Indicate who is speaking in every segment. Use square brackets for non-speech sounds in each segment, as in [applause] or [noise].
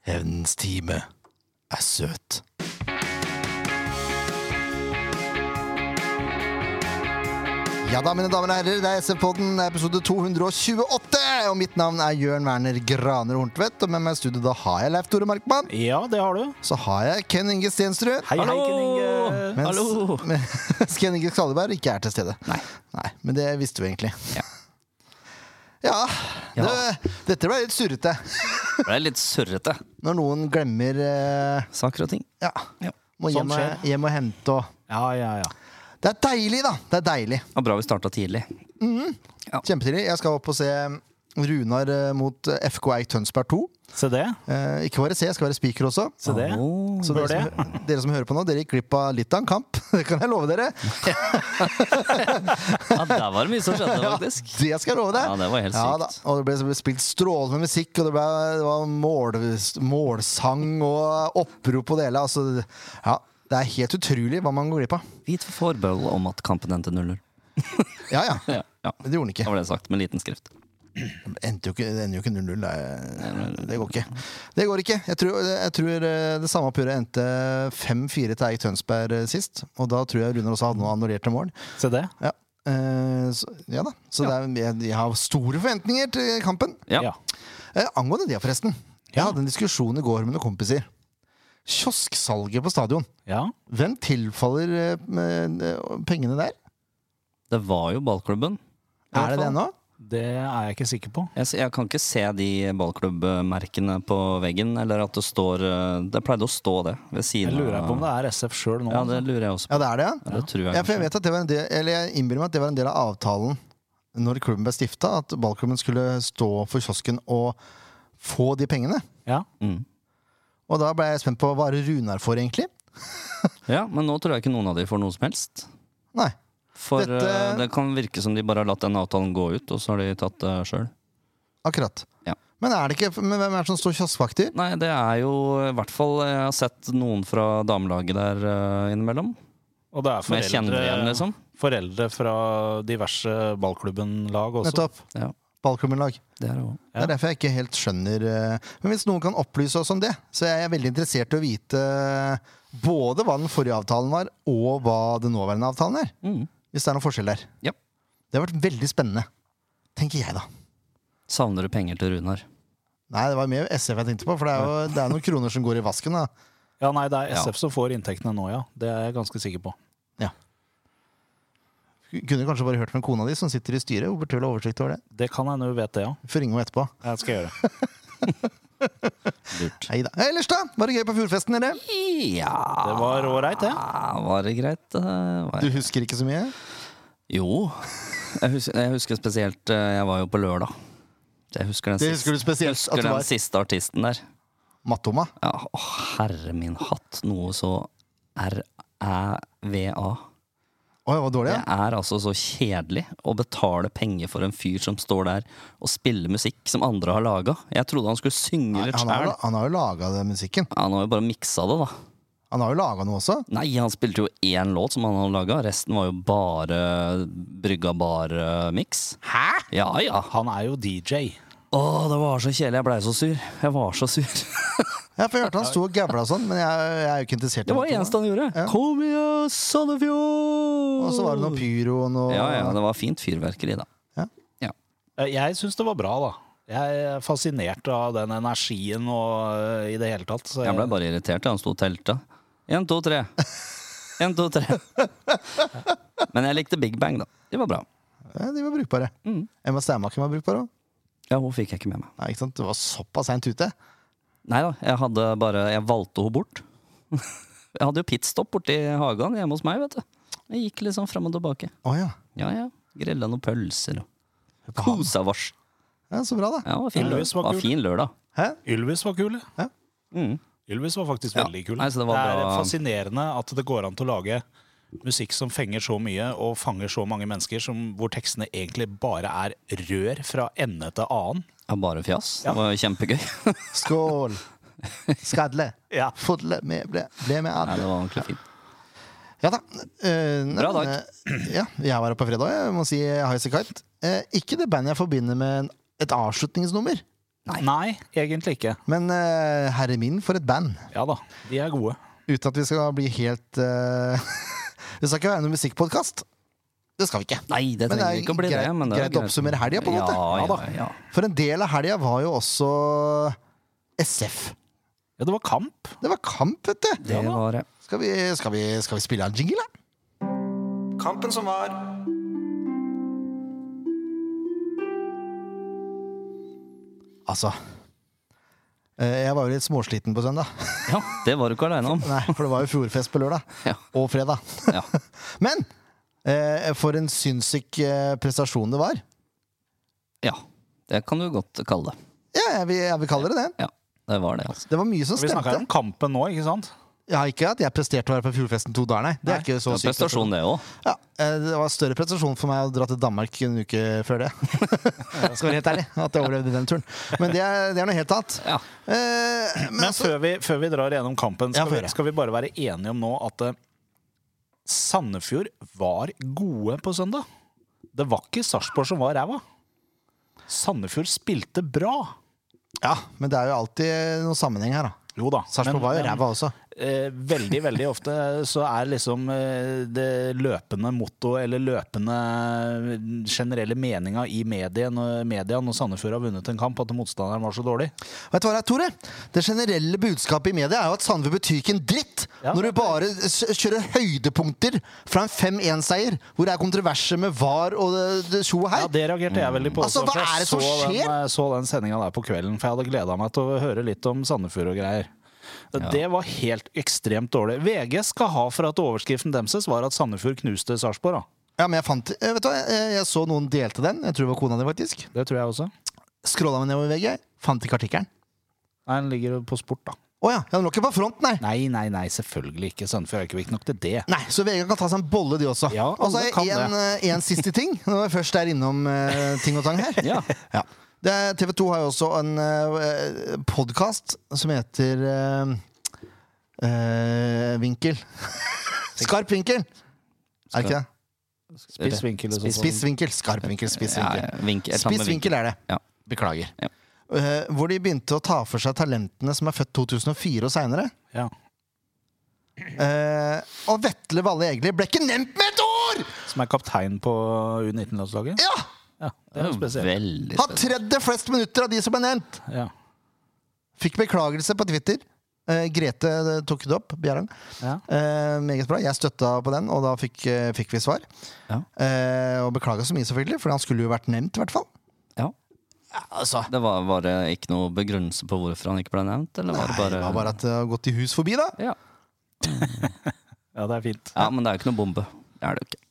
Speaker 1: Hevnens time er søt. Ja da, mine damer og herrer, det er SF-podden, det er episode 228. Og mitt navn er Jørn Werner Graner Horntvedt, og med meg i studio da har jeg Leif Tore Markmann.
Speaker 2: Ja, det har du.
Speaker 1: Så har jeg Ken Inge Stensrud.
Speaker 2: Hei, hei, Ken Inge.
Speaker 1: Mens,
Speaker 2: Hallo!
Speaker 1: [laughs] mens Ken Inge Skalleberg ikke er til stede.
Speaker 2: Nei.
Speaker 1: men det visste vi egentlig.
Speaker 2: Ja.
Speaker 1: Ja,
Speaker 2: Ja.
Speaker 1: Det, dette ble litt surrete.
Speaker 3: Det er litt surrete.
Speaker 1: Når noen glemmer eh,
Speaker 3: Saker og ting.
Speaker 1: Ja.
Speaker 3: Ja.
Speaker 1: Må hjem,
Speaker 2: Sånt
Speaker 1: og- hjem og hente og
Speaker 2: Ja, ja, ja.
Speaker 1: Det er deilig, da! Det er deilig.
Speaker 3: Det var bra vi starta tidlig.
Speaker 1: Kjempetidlig. Jeg skal opp og se mm, Runar eh, mot eh, FK Eik Tønsberg 2.
Speaker 2: Se det.
Speaker 1: Eh, ikke bare se, jeg skal være spiker også.
Speaker 2: Se det.
Speaker 3: Åh.
Speaker 1: Så dere
Speaker 2: Bør
Speaker 1: som, hø- dere som hører på nå, dere gikk glipp av litt av en kamp. [laughs] Det kan jeg love dere.
Speaker 3: Ja, der var det mye som [laughs] skjedde, faktisk.
Speaker 1: Det skal jeg love deg.
Speaker 3: Ja, det var helt
Speaker 1: Ja,
Speaker 3: sykt.
Speaker 1: da. og det ble, det ble spilt strålende musikk, og det, ble, det var mål, målsang og opprop og det hele. Altså, det- ja, det er helt utrolig hva man går glipp av.
Speaker 3: Vit for forbehold om at kampen endte 0-0.
Speaker 1: Ja, ja.
Speaker 3: Ja, ja.
Speaker 1: Men det gjorde den
Speaker 3: Da
Speaker 1: ikke.
Speaker 3: var det sagt med liten skrift.
Speaker 1: Det endte jo ikke- det ender jo ikke 0-0. Det, er- det går ikke. Det går ikke. Jeg tror, jeg tror eh, det samme oppgjøret endte 5-4 til Eik Tønsberg eh, sist. Og da tror jeg Runar også hadde noen annullerte mål.
Speaker 2: Se det.
Speaker 1: Ja, Eh, så, ja da. Så Det er, jeg, jeg har store forventninger til kampen.
Speaker 3: Ja.
Speaker 2: Ja.
Speaker 1: Eh, angående det, forresten. Jeg
Speaker 2: Ja.
Speaker 1: hadde en diskusjon i går med noen kompiser. Kiosksalget på stadion.
Speaker 2: ja.
Speaker 1: Hvem tilfaller eh, med, eh, pengene der?
Speaker 3: Det var jo ballklubben. I
Speaker 1: Er det
Speaker 3: hvert
Speaker 1: det
Speaker 3: fall.
Speaker 1: nå?
Speaker 2: Det er jeg ikke sikker på.
Speaker 3: Jeg, s- jeg kan ikke se de ballklubbmerkene på veggen, eller at det står eh, Det pleide å stå det ved
Speaker 2: Jeg
Speaker 3: siden
Speaker 2: lurer på om det er SF sjøl nå.
Speaker 3: Ja, det lurer jeg også på.
Speaker 1: Ja, det er det, ja.
Speaker 3: Det tror jeg
Speaker 1: ja for jeg
Speaker 3: kanskje.
Speaker 1: vet at det var en del, eller jeg innbiller meg at det var en del av avtalen når klubben ble stifta, at ballklubben skulle stå for kiosken og få de pengene.
Speaker 2: Ja.
Speaker 3: Mm.
Speaker 1: Og da ble jeg spent på hva er det Runar får, egentlig?
Speaker 3: Ja, men nå tror jeg ikke noen av de får noe som helst.
Speaker 1: Nei.
Speaker 3: For
Speaker 1: Dette-
Speaker 3: eh, det kan virke som de bare har latt den avtalen gå ut, og så har de tatt det sjøl.
Speaker 1: Akkurat.
Speaker 3: Ja.
Speaker 1: Men, er det ikke, men hvem er det som står kioskvakter?
Speaker 3: Nei, det er jo i hvert fall eh, Jeg har sett noen fra damelaget der eh, innimellom.
Speaker 2: Og det er
Speaker 3: Som jeg kjenner
Speaker 2: foreldre,
Speaker 3: igjen, liksom.
Speaker 2: foreldre fra diverse ballklubben-lag også.
Speaker 1: Nettopp.
Speaker 3: Ja,
Speaker 1: Ballklubbenlag.
Speaker 3: det er det også.
Speaker 1: Det er derfor jeg ikke helt skjønner eh, Men hvis noen kan opplyse oss om det, så er jeg veldig interessert i å vite både hva den forrige avtalen var, og hva den nåværende avtalen er.
Speaker 3: Mm.
Speaker 1: Hvis det er noen forskjell der.
Speaker 3: Ja.
Speaker 1: Det har vært veldig spennende. Tenker jeg, da.
Speaker 3: Savner du penger til Runar?
Speaker 1: Nei, det var mer SF jeg tenkte på, for det er jo det er noen kroner som går i vasken. da
Speaker 2: Ja, nei, det er
Speaker 3: Ja.
Speaker 2: SF som får inntektene nå, ja. Det er jeg ganske sikker på.
Speaker 1: Kunne kanskje bare hørt med kona di, som sitter i styret. Hun burde vel ha oversikt over det.
Speaker 2: Det kan hende du vet det, ja.
Speaker 1: Får ringe henne etterpå.
Speaker 2: Jeg skal gjøre det.
Speaker 3: Lurt.
Speaker 1: Neida. Ellers, da? Var det gøy på fjordfesten, dere?
Speaker 3: Ja
Speaker 2: Det var ålreit, det.
Speaker 3: Var det greit? eh, Var
Speaker 1: Du
Speaker 3: det?
Speaker 1: husker ikke så mye?
Speaker 3: Jo. Jeg husker, jeg husker spesielt eh, Jeg var jo på lørdag. Jeg husker den,
Speaker 1: Det husker du
Speaker 3: siste,
Speaker 1: spesielt
Speaker 3: husker
Speaker 1: at det
Speaker 3: den
Speaker 1: var-
Speaker 3: siste artisten der.
Speaker 1: Mattoma?
Speaker 3: Ja, å, herre min hatt. Noe så r-æ-v-a.
Speaker 1: Oi, det var dårlig,
Speaker 3: Det
Speaker 1: ja.
Speaker 3: er altså så kjedelig å betale penger for en fyr som står der og spiller musikk som andre har laga. Jeg trodde han skulle synge litt
Speaker 1: Han har,
Speaker 3: sjæl.
Speaker 1: jo- han har jo laga den musikken.
Speaker 3: Han har jo bare miksa det, da.
Speaker 1: Han har jo laga noe også.
Speaker 3: Nei, han spilte jo én låt som han hadde laga. Resten var jo bare brygga bar-miks.
Speaker 2: Hæ?
Speaker 3: Ja, ja.
Speaker 2: Han er jo DJ.
Speaker 3: Å, det var så kjedelig. Jeg blei så sur. Jeg var så sur. [laughs]
Speaker 1: Ja, for jeg hørte han sto og gavla og sånn, men jeg, jeg er jo ikke interessert i
Speaker 3: Det var det
Speaker 1: Mattoma.
Speaker 3: eneste han gjorde. Kom igjen, Sandefjord!
Speaker 1: Og så var det noe pyro og noe
Speaker 3: Ja, ja. Det var fint fyrverkeri, da.
Speaker 1: Ja.
Speaker 3: Ja.
Speaker 2: Eh, Jeg syns det var bra, da. Jeg er fascinert av den energien og eh, i det hele tatt. Så
Speaker 3: Jeg ble bare irritert da han sto og telta. Én, to, tre. Én, to, tre. Men jeg likte Big Bang, da. Det var bra.
Speaker 1: Ja, De var brukbare.
Speaker 3: Mm.
Speaker 1: Emma Steinbakken var brukbar òg.
Speaker 3: Ja, hun fikk jeg ikke med meg.
Speaker 1: Nei, ikke sant? Du var såpass seint ute.
Speaker 3: Nei da, jeg hadde bare Jeg valgte henne bort. Jeg hadde jo pitstop borti hagen hjemme hos meg, vet du. Jeg gikk liksom fram og tilbake.
Speaker 1: Å ja.
Speaker 3: Ja, ja. Grilla noen pølser og
Speaker 1: på
Speaker 3: kosa vårs.
Speaker 1: ja. Så bra, da.
Speaker 3: Ja, det var fin,
Speaker 2: Ja,
Speaker 3: lø-
Speaker 2: Louis var
Speaker 3: var
Speaker 2: kul.
Speaker 3: fin lørdag.
Speaker 1: Hæ?
Speaker 2: Ylvis var kul.
Speaker 1: Ja.
Speaker 3: Mm.
Speaker 2: Ylvis var faktisk
Speaker 3: Ja.
Speaker 2: veldig kul.
Speaker 3: Nei, så det var
Speaker 2: er
Speaker 3: bra.
Speaker 2: fascinerende at det går an til å lage musikk som fenger så mye, og fanger så mange mennesker, som, hvor tekstene egentlig bare er rør fra ende til annen.
Speaker 3: Ja, bare fjas.
Speaker 2: Ja.
Speaker 3: Det var kjempegøy. [laughs] Nei,
Speaker 1: Skål! Skadle.
Speaker 2: Ja.
Speaker 1: Fodle. Med, ble, ble med
Speaker 3: det
Speaker 1: alle.
Speaker 3: var ordentlig fint.
Speaker 1: Ja da. Eh, nei,
Speaker 3: Bra
Speaker 1: men,
Speaker 3: dag.
Speaker 1: eh, ja, jeg var her på Eh, fredag. Jeg må si Highasakite. Uh, ikke det bandet jeg forbinder med en- et avslutningsnummer.
Speaker 2: Nei. egentlig ikke.
Speaker 1: Men eh, herre min, for et band.
Speaker 2: Ja da, de er gode.
Speaker 1: Uten at vi skal bli helt eh, [laughs] Vi skal ikke være noen musikkpodkast. Det skal vi ikke.
Speaker 3: Nei,
Speaker 1: Men
Speaker 3: det
Speaker 1: det
Speaker 3: trenger
Speaker 1: er
Speaker 3: ikke å bli det.
Speaker 1: greit-
Speaker 3: Men det er
Speaker 1: greit å oppsummere helgen på en måte.
Speaker 3: Ja,
Speaker 1: Ja
Speaker 3: ja,
Speaker 1: da.
Speaker 3: ja.
Speaker 1: For en del av helga var jo også SF.
Speaker 2: Ja, det var kamp.
Speaker 1: Det var kamp, vet du.
Speaker 3: Det var det.
Speaker 1: Skal vi, skal vi, skal vi spille en jingle, da?
Speaker 4: Kampen som var.
Speaker 1: Altså eh, Jeg var jo litt småsliten på søndag.
Speaker 3: Ja, det var du ikke aleine om.
Speaker 1: Nei, for det var jo fjordfest på lørdag.
Speaker 3: Ja.
Speaker 1: Og fredag.
Speaker 3: Ja.
Speaker 1: [laughs] Men eh, for en sinnssyk eh, prestasjon det var.
Speaker 3: ja. Det kan du godt kalle det.
Speaker 1: Ja, jeg vil, jeg vil kalle det det.
Speaker 3: Ja, det var det, altså.
Speaker 1: Det var mye som
Speaker 2: Vi snakka
Speaker 1: stemte.
Speaker 2: om kampen nå, ikke sant?
Speaker 1: Ja, ikke at jeg presterte å være på Fjordfesten to dager, nei. Det er
Speaker 2: Nei,
Speaker 1: ikke
Speaker 3: Det
Speaker 1: så
Speaker 3: er
Speaker 1: sykt.
Speaker 3: prestasjon, det òg.
Speaker 1: Ja, eh, det var større prestasjon for meg å dra til Danmark en uke før det. Skal være
Speaker 3: [laughs]
Speaker 1: helt ærlig at jeg overlevde den turen. Men det er, det er noe helt annet. [laughs]
Speaker 3: Ja.
Speaker 1: Eh, men
Speaker 2: Men
Speaker 1: altså,
Speaker 2: før vi, før vi drar gjennom kampen,
Speaker 1: Ja,
Speaker 2: skal,
Speaker 1: få
Speaker 2: vi,
Speaker 1: høre.
Speaker 2: skal vi bare være enige om nå at eh, Sandefjord var gode på søndag. Det var ikke Sarpsborg som var ræva. Sandefjord spilte bra.
Speaker 1: ja, men det er jo alltid noen sammenheng her, da.
Speaker 2: Jo da.
Speaker 1: Sarpsborg var jo
Speaker 2: men,
Speaker 1: ræva også.
Speaker 2: eh, veldig, veldig ofte så er liksom eh, det løpende motto eller løpende eh, generelle meninga i media når, media når Sandefjord har vunnet en kamp, at motstanderen var så dårlig.
Speaker 1: Vet du hva det er, Tore? Det generelle budskapet i media er jo at Sandefjord betyr ikke en dritt
Speaker 2: Ja.
Speaker 1: når du bare s- kjører høydepunkter fra en 5-1-seier, hvor det er kontroverser med VAR og det- det tjo og hei.
Speaker 2: Ja, Det reagerte jeg veldig på.
Speaker 1: Altså,
Speaker 2: også, for
Speaker 1: hva
Speaker 2: jeg
Speaker 1: er det som
Speaker 2: så Den,
Speaker 1: skjer?
Speaker 2: jeg så den sendinga der på kvelden, for jeg hadde gleda meg til å høre litt om Sandefjord og greier. Det var helt ekstremt dårlig. VG skal ha for at overskriften deres var at Sandefjord knuste Sarpsborg. da.
Speaker 1: Ja, men jeg fant eh, Vet du hva, jeg, jeg så noen delte den. Jeg tror det var kona di, faktisk.
Speaker 2: Det tror jeg også.
Speaker 1: Scrolla meg nedover i VG, fant ikke artikkelen.
Speaker 2: Nei, Den ligger på sport, da.
Speaker 1: Å ja, ja, den lå ikke på front, nei.
Speaker 2: Nei, nei, nei, selvfølgelig ikke. Sandefjord er ikke viktig nok til [laughs] det.
Speaker 1: Nei, så VG kan ta seg en bolle, de også.
Speaker 2: Ja,
Speaker 1: og så
Speaker 2: alle
Speaker 1: er
Speaker 2: kan
Speaker 1: en, eh, en siste ting, når vi først er innom eh, ting og tang
Speaker 2: [laughs]
Speaker 1: her.
Speaker 3: Ja.
Speaker 1: Ja. Det er, TV 2 har jo også en uh, podkast som heter eh, eh, Vinkel. Skarp vinkel! Er det ikke det?
Speaker 2: Spiss vinkel og sånn.
Speaker 1: Spiss vinkel. Skarp vinkel, spiss
Speaker 3: Ja,
Speaker 1: vinkel.
Speaker 3: ja, vinkel. Jeg tar med
Speaker 1: Spiss vinkel er det.
Speaker 3: Ja.
Speaker 1: Beklager.
Speaker 3: Ja.
Speaker 1: Eh, hvor de begynte å ta for seg talentene som er født 2004 og seinere.
Speaker 2: Ja.
Speaker 1: Eh, og Vetle Valle Egli ble ikke nevnt med et ord!
Speaker 2: Som er kaptein på U19-landslaget?
Speaker 1: Ja!
Speaker 2: Ja, det er jo spesielt.
Speaker 3: Veldig
Speaker 1: Har tredje flest minutter av de som ble nevnt.
Speaker 2: Ja.
Speaker 1: Fikk beklagelse på Twitter. Eh, Grete eh, tok det opp. Bjerren.
Speaker 2: Ja.
Speaker 1: Eh, meget bra. Jeg støtta på den, og da fikk, eh, fikk vi svar.
Speaker 3: Ja.
Speaker 1: Eh, og beklaga så mye, selvfølgelig, for han skulle jo vært nevnt, i hvert fall.
Speaker 3: Ja.
Speaker 1: altså.
Speaker 3: Det var, var det ikke noe begrunnelse på hvorfor han ikke ble nevnt? Eller var det
Speaker 1: Nei,
Speaker 3: bare,
Speaker 1: det var bare at det har gått i hus forbi, da.
Speaker 3: ja.
Speaker 2: ja, det er fint.
Speaker 3: ja, men det er jo ikke noe bombe. Det er det jo ikke.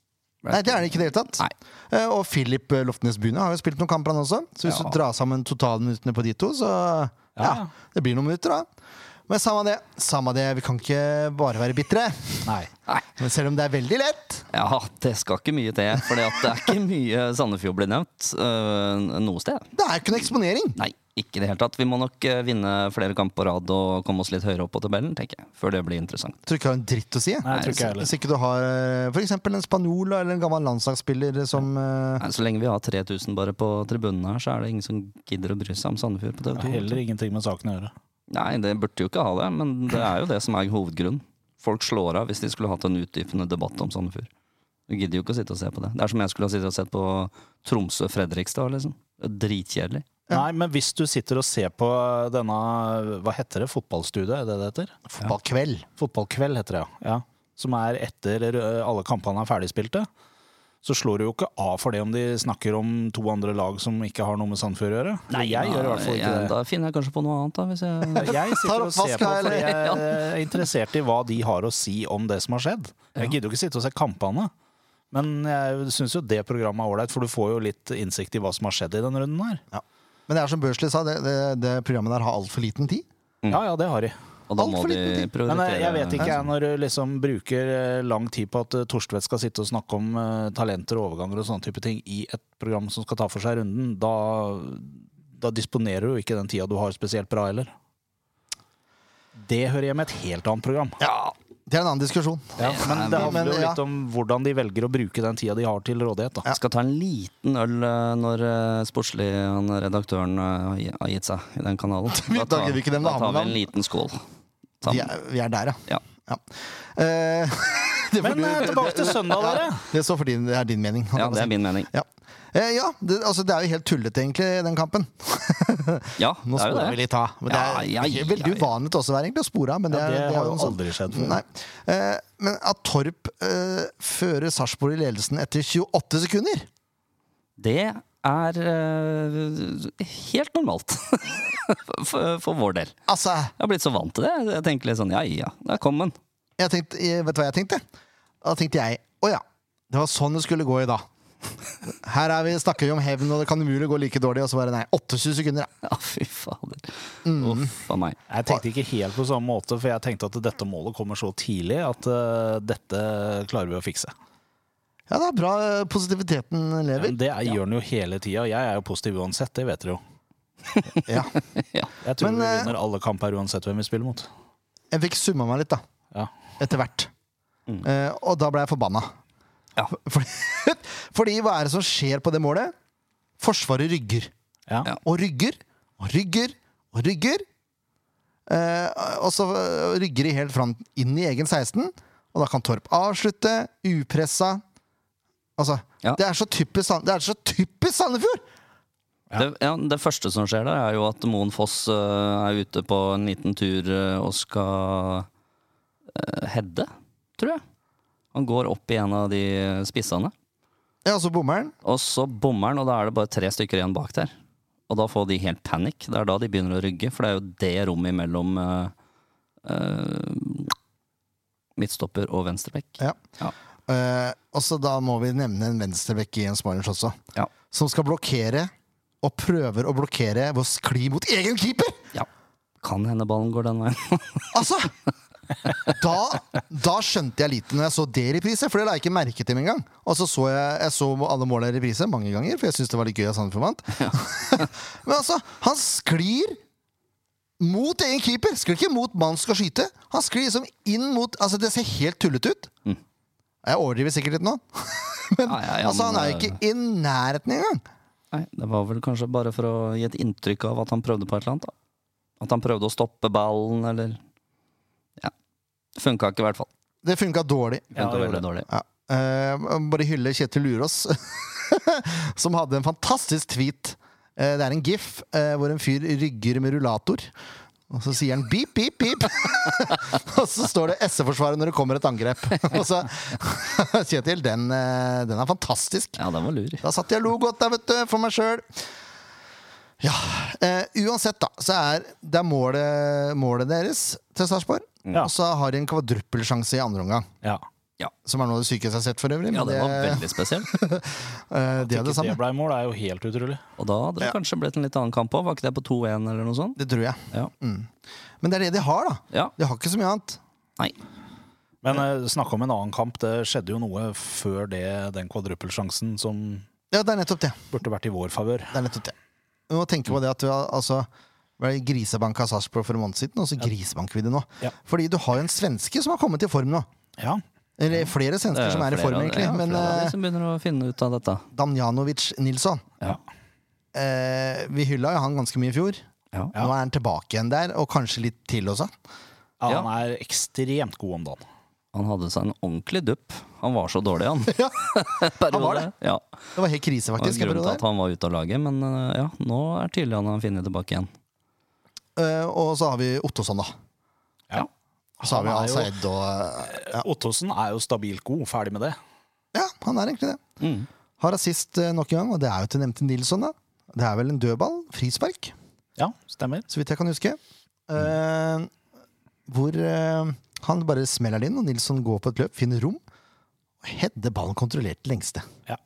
Speaker 1: Nei, det er det ikke i det hele tatt.
Speaker 3: Nei.
Speaker 1: Eh, og Philip eh, Loftenes Bune har jo spilt noen kamper, han også. Så hvis
Speaker 3: Ja.
Speaker 1: du drar sammen totalminuttene på de to, så ja,
Speaker 2: Ja, ja.
Speaker 1: det blir noen minutter, da. Men samme det. Samme det, vi kan ikke bare være bitre.
Speaker 2: Nei.
Speaker 3: Nei.
Speaker 1: Men selv om det er veldig lett.
Speaker 3: Ja, det skal ikke mye til. For det er ikke mye Sandefjord blir nevnt øh, noe sted.
Speaker 1: Det er ikke noe eksponering.
Speaker 3: Nei, ikke i det hele tatt. Vi må nok øh, vinne flere kamper på rad og komme oss litt høyere opp på tabellen, tenker jeg. Før det blir interessant.
Speaker 1: Jeg tror ikke jeg har en dritt å si. jeg.
Speaker 2: Nei, jeg tror ikke jeg heller.
Speaker 1: Hvis ikke du har eh, for eksempel en spanjol eller en gammel landslagsspiller som eh,
Speaker 3: Nei, så lenge vi har 3000 bare på tribunene her, så er det ingen som gidder å bry seg om Sandefjord på TV 2.
Speaker 2: Heller ingenting med saken å gjøre.
Speaker 3: Nei, det burde jo ikke ha det, men det er jo det som er hovedgrunnen. Folk slår av hvis de skulle hatt en utdypende debatt om Sandefjord. Du gidder jo ikke å sitte og se på det. Det er som jeg skulle ha sittet og sett på Tromsø-Fredrikstad, liksom. Det er Dritkjedelig.
Speaker 2: Nei, men hvis du sitter og ser på denne Hva heter det? Fotballstudiet? Er det det heter?
Speaker 1: Fotballkveld.
Speaker 2: Fotballkveld heter det, ja. ja. Som er etter ø, alle kampene er ferdigspilte. Så slår du jo ikke av for det om de snakker om to andre lag som ikke har noe med Sandfjord å gjøre. jeg gjør i hvert fall ikke
Speaker 3: Ja,
Speaker 2: det.
Speaker 3: Da finner jeg kanskje på noe annet, da, hvis
Speaker 2: [laughs]
Speaker 3: jeg
Speaker 2: Jeg sitter og ser
Speaker 1: oppvasken,
Speaker 2: på fordi
Speaker 1: eller?
Speaker 2: jeg er interessert i hva de har å si om det som har skjedd. Jeg gidder jo ikke sitte og se kampene. Men jeg syns jo det programmet er ålreit, for du får jo litt innsikt i hva som har skjedd i den runden her.
Speaker 1: Ja. Men det er som Børsli sa, det, det, det programmet der har altfor liten tid.
Speaker 2: Ja, ja, det har de.
Speaker 3: Og da
Speaker 1: Alt
Speaker 3: må
Speaker 1: for
Speaker 3: de
Speaker 1: liten tid.
Speaker 3: prioritere
Speaker 2: Men eh, jeg vet ikke jeg når du liksom bruker eh, lang tid på at eh, Torstvedt skal sitte og snakke om eh, talenter og overganger og sånne type ting i et program som skal ta for seg runden. Da, da disponerer du jo ikke den tida du har spesielt bra heller. Det hører hjemme i et helt annet program.
Speaker 1: Ja, Det er en annen diskusjon.
Speaker 2: Ja, men det handler jo
Speaker 1: Men, ja.
Speaker 2: litt om hvordan de velger å bruke den tida de har til rådighet. da.
Speaker 1: Ja.
Speaker 3: Skal ta en liten øl eh, når eh, sportslig han redaktøren eh, har gi- har gitt seg i den kanalen.
Speaker 1: [laughs] Vi- da gidder vi ikke nevne
Speaker 3: da tar vi
Speaker 1: navn.
Speaker 3: en liten skål.
Speaker 1: Vi
Speaker 3: Sammen.
Speaker 1: er, vi er der,
Speaker 3: Ja.
Speaker 1: Eh, [laughs] det, får
Speaker 2: Men eh,
Speaker 1: du-
Speaker 2: tilbake til søndag, dere.
Speaker 1: det står for din, det er din mening. holdt
Speaker 3: Ja,
Speaker 1: jeg på å
Speaker 3: det
Speaker 1: si.
Speaker 3: er min mening.
Speaker 1: Ja, eh, ja det, altså, det er jo helt tullete, egentlig, den kampen.
Speaker 3: Ja,
Speaker 1: Nå
Speaker 3: det er jo
Speaker 1: sporer vi
Speaker 3: det.
Speaker 1: litt av. Men det er
Speaker 3: Ja, ja, ja,
Speaker 1: veldig
Speaker 3: ja.
Speaker 1: uvanlig til oss å være egentlig å spore av. Men det,
Speaker 2: Ja,
Speaker 1: er,
Speaker 2: det
Speaker 1: det er
Speaker 2: har jo
Speaker 1: noe sånt.
Speaker 2: aldri skjedd før.
Speaker 1: Nei. Eh, men at Torp eh, fører Sarpsborg i ledelsen etter 28 sekunder
Speaker 3: Det er eh, helt normalt. [laughs] for, for vår del.
Speaker 1: Altså,
Speaker 3: Jeg har blitt så vant til det. Jeg tenker litt sånn ja ja, der kom den. [laughs]
Speaker 1: jeg tenkte, eh, vet du hva jeg tenkte? Da tenkte jeg å ja, det var sånn det skulle gå i dag. [laughs] Her er vi, snakker vi om hevn, og det kan umulig gå like dårlig. Og så bare nei. 28 sekunder, ja.
Speaker 3: Ja, fy fader.
Speaker 1: Mm.
Speaker 3: Uff a meg. [laughs]
Speaker 2: Jeg tenkte ikke helt på samme måte, for jeg tenkte at dette målet kommer så tidlig at eh, dette klarer vi å fikse.
Speaker 1: Ja, det er bra eh, positiviteten lever.
Speaker 2: Men det er, gjør den jo hele tida. Jeg er jo positiv uansett, det vet dere jo.
Speaker 1: Ja.
Speaker 3: Ja.
Speaker 2: Jeg tror
Speaker 1: Men,
Speaker 2: vi
Speaker 1: eh,
Speaker 2: vinner alle kamper uansett hvem vi spiller mot.
Speaker 1: Jeg fikk summa meg litt, da.
Speaker 2: Ja.
Speaker 1: Etter hvert. Eh, og da ble jeg forbanna.
Speaker 3: Ja.
Speaker 1: [laughs] Fordi, fordi hva er det som skjer på det målet? Forsvaret rygger.
Speaker 2: Ja.
Speaker 3: Ja.
Speaker 1: Og rygger og rygger og rygger. Eh, og så eh, rygger de helt fram inn i egen 16, og da kan Torp avslutte. Upressa. Altså,
Speaker 3: Ja.
Speaker 1: det, er så typisk, Sand- det er så typisk Sandefjord!
Speaker 3: Det, ja, det første som skjer der, er jo at Moen Foss eh, er ute på en liten tur eh, og skal uh, heade, tror jeg. Han går opp i en av de spissene,
Speaker 1: Ja, og så bommer han.
Speaker 3: og så bommer han, og da er det bare tre stykker igjen bak der. Og da får de helt panikk. Det er da de begynner å rygge, for det er jo det rommet imellom eh, eh, midtstopper og venstrebekk.
Speaker 1: Ja.
Speaker 3: Ja.
Speaker 1: Eh, og så da må vi nevne en venstrebekk i en Smileys også,
Speaker 3: Ja.
Speaker 1: som skal blokkere, og prøver å blokkere ved å skli mot egen keeper!
Speaker 3: ja. Kan hende ballen går den veien.
Speaker 1: Altså! Da, da skjønte jeg lite når jeg så det i reprise, for det la jeg ikke merke til med en gang. Og så så jeg, jeg så alle målene i reprise mange ganger, for jeg syntes det var litt gøy at Sandefjord vant. [laughs] Men altså, han sklir mot egen keeper! Sklir ikke mot mannen som skal skyte. Han sklir liksom inn mot Altså, det ser helt tullete ut. Jeg overdriver sikkert litt nå, men
Speaker 3: [laughs] Ja, Mm. ja, ja,
Speaker 1: altså, han
Speaker 3: men,
Speaker 1: er jo ikke i nærheten engang!
Speaker 3: Nei, det var vel kanskje bare for å gi et inntrykk av at han prøvde på et eller annet. da. At han prøvde å stoppe ballen, eller Ja. Funka ikke, i hvert fall.
Speaker 1: Det funka dårlig.
Speaker 2: det
Speaker 3: Funka
Speaker 2: gjorde
Speaker 3: veldig dårlig.
Speaker 1: Ja. Eh, bare hylle Kjetil Lurås, [laughs] som hadde en fantastisk tweet. Eh, det er en gif eh, hvor en fyr rygger med rullator. Og så sier han beep, beep, beep. [laughs] og så står det SE-forsvaret når det kommer et angrep. [laughs] og så Kjetil, den, eh, den er fantastisk.
Speaker 3: Ja, den var lur.
Speaker 1: Da satt jeg og lo godt der, vet du, for meg sjøl. Ja. Eh, uansett, da, så er det er målet, målet deres til Sarpsborg.
Speaker 2: Ja.
Speaker 1: Og så har de en kvadruppelsjanse i andre omgang.
Speaker 2: Ja.
Speaker 1: Som er noe av det sykeste jeg har sett for øvrig.
Speaker 3: Ja,
Speaker 1: men
Speaker 3: det var veldig [laughs] spesielt.
Speaker 1: Eh, de
Speaker 2: At
Speaker 1: er det
Speaker 2: ikke
Speaker 1: samme.
Speaker 2: det ble mål, er jo helt utrolig.
Speaker 3: Og da hadde det kanskje blitt en litt annen kamp òg. Var ikke det på 2-1 eller noe sånt?
Speaker 1: Det tror jeg.
Speaker 3: Ja.
Speaker 1: Men det er det de har, da.
Speaker 3: ja.
Speaker 1: De har ikke så mye annet.
Speaker 3: Nei.
Speaker 2: Men eh, snakk om en annen kamp. Det skjedde jo noe før det, den kvadruppelsjansen som
Speaker 1: Ja, det er nettopp det.
Speaker 2: burde vært i vår favør.
Speaker 1: det, er nettopp det. Vi må tenke på det at vi har altså ble grisebanka av Sarpsborg for en måned siden, og så grisebanker vi det nå.
Speaker 2: Ja.
Speaker 1: Fordi du har jo en svenske som har kommet i form nå.
Speaker 2: Ja.
Speaker 1: Eller flere
Speaker 3: Det
Speaker 1: svensker som er i
Speaker 3: flere
Speaker 1: form,
Speaker 3: av-
Speaker 1: egentlig.
Speaker 3: Ja,
Speaker 1: Men
Speaker 3: flere av liksom. de
Speaker 1: eh,
Speaker 3: som begynner å finne ut av dette.
Speaker 1: Damjanovic Nilsson
Speaker 3: Ja.
Speaker 1: eh, Vi hylla jo han ganske mye i fjor.
Speaker 3: Ja.
Speaker 1: Nå er han tilbake igjen der, og kanskje litt til også.
Speaker 2: ja. Han er ekstremt god om dagen.
Speaker 3: Han hadde seg en ordentlig dupp. Han var så dårlig, han.
Speaker 1: [laughs] Ja,
Speaker 3: Periode.
Speaker 1: var det.
Speaker 3: Ja.
Speaker 1: det var helt krise,
Speaker 3: Det var
Speaker 1: faktisk. en
Speaker 3: grunnen til
Speaker 1: periode.
Speaker 3: at han var ute av laget, men eh, ja, nå er tydelig han har funnet tilbake igjen.
Speaker 1: Eh, og så har vi Ottosson, da.
Speaker 2: Ja.
Speaker 1: Og så har vi
Speaker 2: Han er jo-
Speaker 1: Al-Saed og eh, ja.
Speaker 2: Ottosen er jo stabilt god, ferdig med det.
Speaker 1: Ja, han er egentlig det.
Speaker 3: Mm.
Speaker 1: Har assist eh, nok en gang, og det er jo til nevnte Nilsson. da. Det er vel en dødball, frispark,
Speaker 2: Ja, stemmer.
Speaker 1: så vidt jeg kan huske. Eh, hvor eh, han bare smeller den inn, og Nilsson går på et løp, finner rom. og Hedder ballen kontrollert til lengste.
Speaker 3: Ja.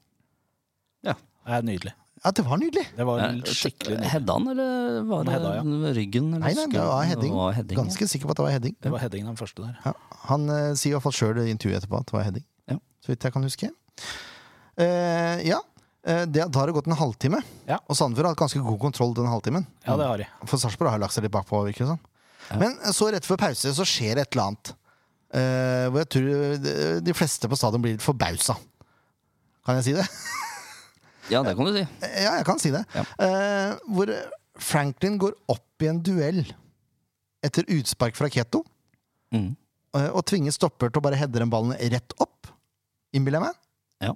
Speaker 2: Det er nydelig.
Speaker 1: Ja, det var nydelig!
Speaker 2: Det var
Speaker 3: Eh,
Speaker 2: skikkelig nydelig.
Speaker 3: Hedda han, eller var det
Speaker 2: Hedda,
Speaker 3: ryggen? Eller
Speaker 1: Nei, nei, det var
Speaker 3: skulden?
Speaker 1: heading.
Speaker 3: Det var heading, ja.
Speaker 1: Ganske sikker på at det var heading.
Speaker 2: Det var headingen den første der.
Speaker 1: Ja, han eh, sier i hvert fall sjøl i intervjuet etterpå at det var heading.
Speaker 3: Ja.
Speaker 1: Så vidt jeg kan huske. Eh, ja, eh, det, da har det gått en halvtime,
Speaker 2: Ja.
Speaker 1: og Sandefjord har hatt ganske god kontroll den halvtimen.
Speaker 2: Ja, det har de.
Speaker 1: eh, For Sarpsborg har jo lagt seg litt bakpå. virker det som. Men så rett før pause så skjer et eller annet. Eh, hvor jeg tror de- de fleste på stadion blir litt forbausa. Kan jeg si det? [laughs]
Speaker 3: Ja, det kan du si.
Speaker 1: Ja, jeg kan si det.
Speaker 3: Ja.
Speaker 1: Eh, hvor Franklin går opp i en duell etter utspark fra Keto,
Speaker 3: Mm.
Speaker 1: eh, og tvinger stopper til å bare heade den ballen rett opp, innbiller jeg meg.
Speaker 3: Ja.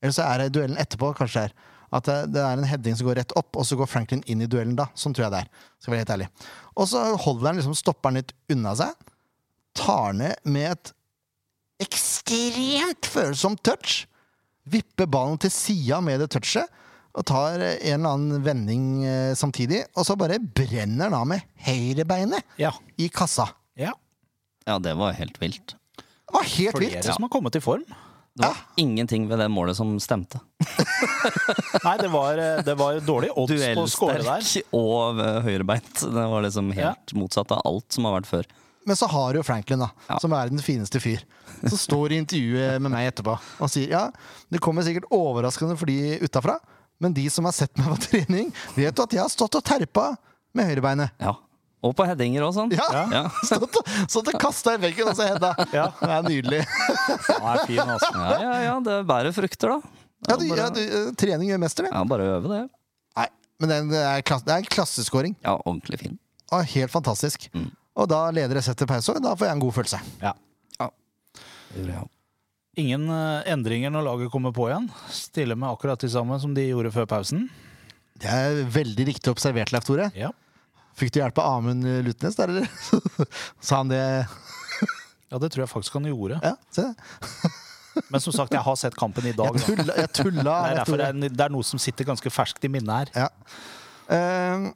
Speaker 1: Eller så er det duellen etterpå, kanskje det er. At det det er en heading som går rett opp, og så går Franklin inn i duellen da. Sånn tror jeg det er. Skal være helt ærlig. Og så holder han liksom stopperen litt unna seg, tar ned med et ekstremt følsomt touch vipper ballen til sida med det touchet og tar eh, en eller annen vending eh, samtidig. Og så bare brenner han av med høyrebeinet
Speaker 2: Ja.
Speaker 1: i kassa.
Speaker 2: ja.
Speaker 3: Ja, det var helt vilt.
Speaker 1: Det var helt
Speaker 2: Flere
Speaker 1: vilt!
Speaker 2: som har kommet i form.
Speaker 3: Det
Speaker 1: Ah.
Speaker 3: var ingenting ved det målet som stemte.
Speaker 2: Nei, det var, eh, det var dårlig odds på å score [laughs] der.
Speaker 3: Duellsterk og eh, høyrebeint. Det var liksom
Speaker 2: Ja.
Speaker 3: helt motsatt av alt som har vært før.
Speaker 1: Men så har du jo Franklin, da,
Speaker 3: Ja.
Speaker 1: som er den fineste fyr. Som står i intervjuet med meg etterpå og sier ja, det kommer sikkert overraskende for de utafra, men de som har sett meg på trening, vet jo at jeg har stått og terpa med
Speaker 3: [laughs]
Speaker 1: høyrebeinet.
Speaker 3: Ja. Og på headinger og sånn.
Speaker 1: Ja!
Speaker 3: Ja.
Speaker 1: Stått og, stått og kasta i veggen, og så hedda.
Speaker 2: Ja.
Speaker 1: Det er nydelig.
Speaker 2: Han er fin, altså.
Speaker 3: Ja, ja, ja, det bærer frukter, da.
Speaker 1: Ja, du, ja, du, eh, trening gjør mester, det.
Speaker 3: Ja, bare øve det.
Speaker 1: Nei, men den er klass, det er en klasseskåring.
Speaker 3: Ja, ordentlig fin.
Speaker 1: Og helt fantastisk.
Speaker 3: Mm.
Speaker 1: Og da leder jeg sett til pause, og da får jeg en god følelse.
Speaker 2: Ja. Ingen eh, endringer når laget kommer på igjen. Stille med akkurat de samme som de gjorde før pausen.
Speaker 1: Det er veldig riktig observert, Leif Tore.
Speaker 2: Ja.
Speaker 1: Fikk du hjelp av Amund Lutnes der, eller? [laughs] Sa han det?
Speaker 2: ja, det tror jeg faktisk han gjorde.
Speaker 1: Ja, se det.
Speaker 2: [laughs] Men som sagt, jeg har sett kampen i dag.
Speaker 1: Jeg
Speaker 2: Da.
Speaker 1: tulla, jeg tulla
Speaker 2: [laughs] Det, er
Speaker 1: Leif
Speaker 2: derfor det,
Speaker 1: Tore.
Speaker 2: er, det er noe som sitter ganske ferskt i minnet her.
Speaker 1: Ja. Ehm,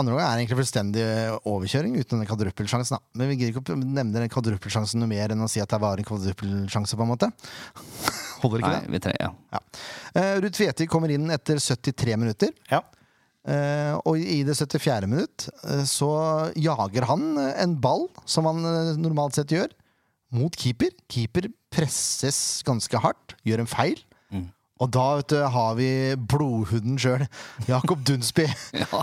Speaker 1: andre gang er egentlig fullstendig overkjøring uten den kvadruppelsjansen. da. Men vi gidder ikke å nevne den kvadruppelsjansen noe mer enn å si at det var en kvadruppelsjanse, på en måte. [laughs] Holder ikke
Speaker 3: Nei, vi tre, ja.
Speaker 1: det? Ja. Eh, Ruud Tvedti kommer inn etter 73 minutter.
Speaker 2: Ja.
Speaker 1: Eh, og i det 74. minutt eh, så jager han eh, en ball, som han eh, normalt sett gjør, mot keeper. Keeper presses ganske hardt, gjør en feil. Og da vet du, har vi blodhunden sjøl, Jakob Dunsby, [laughs]
Speaker 3: ja.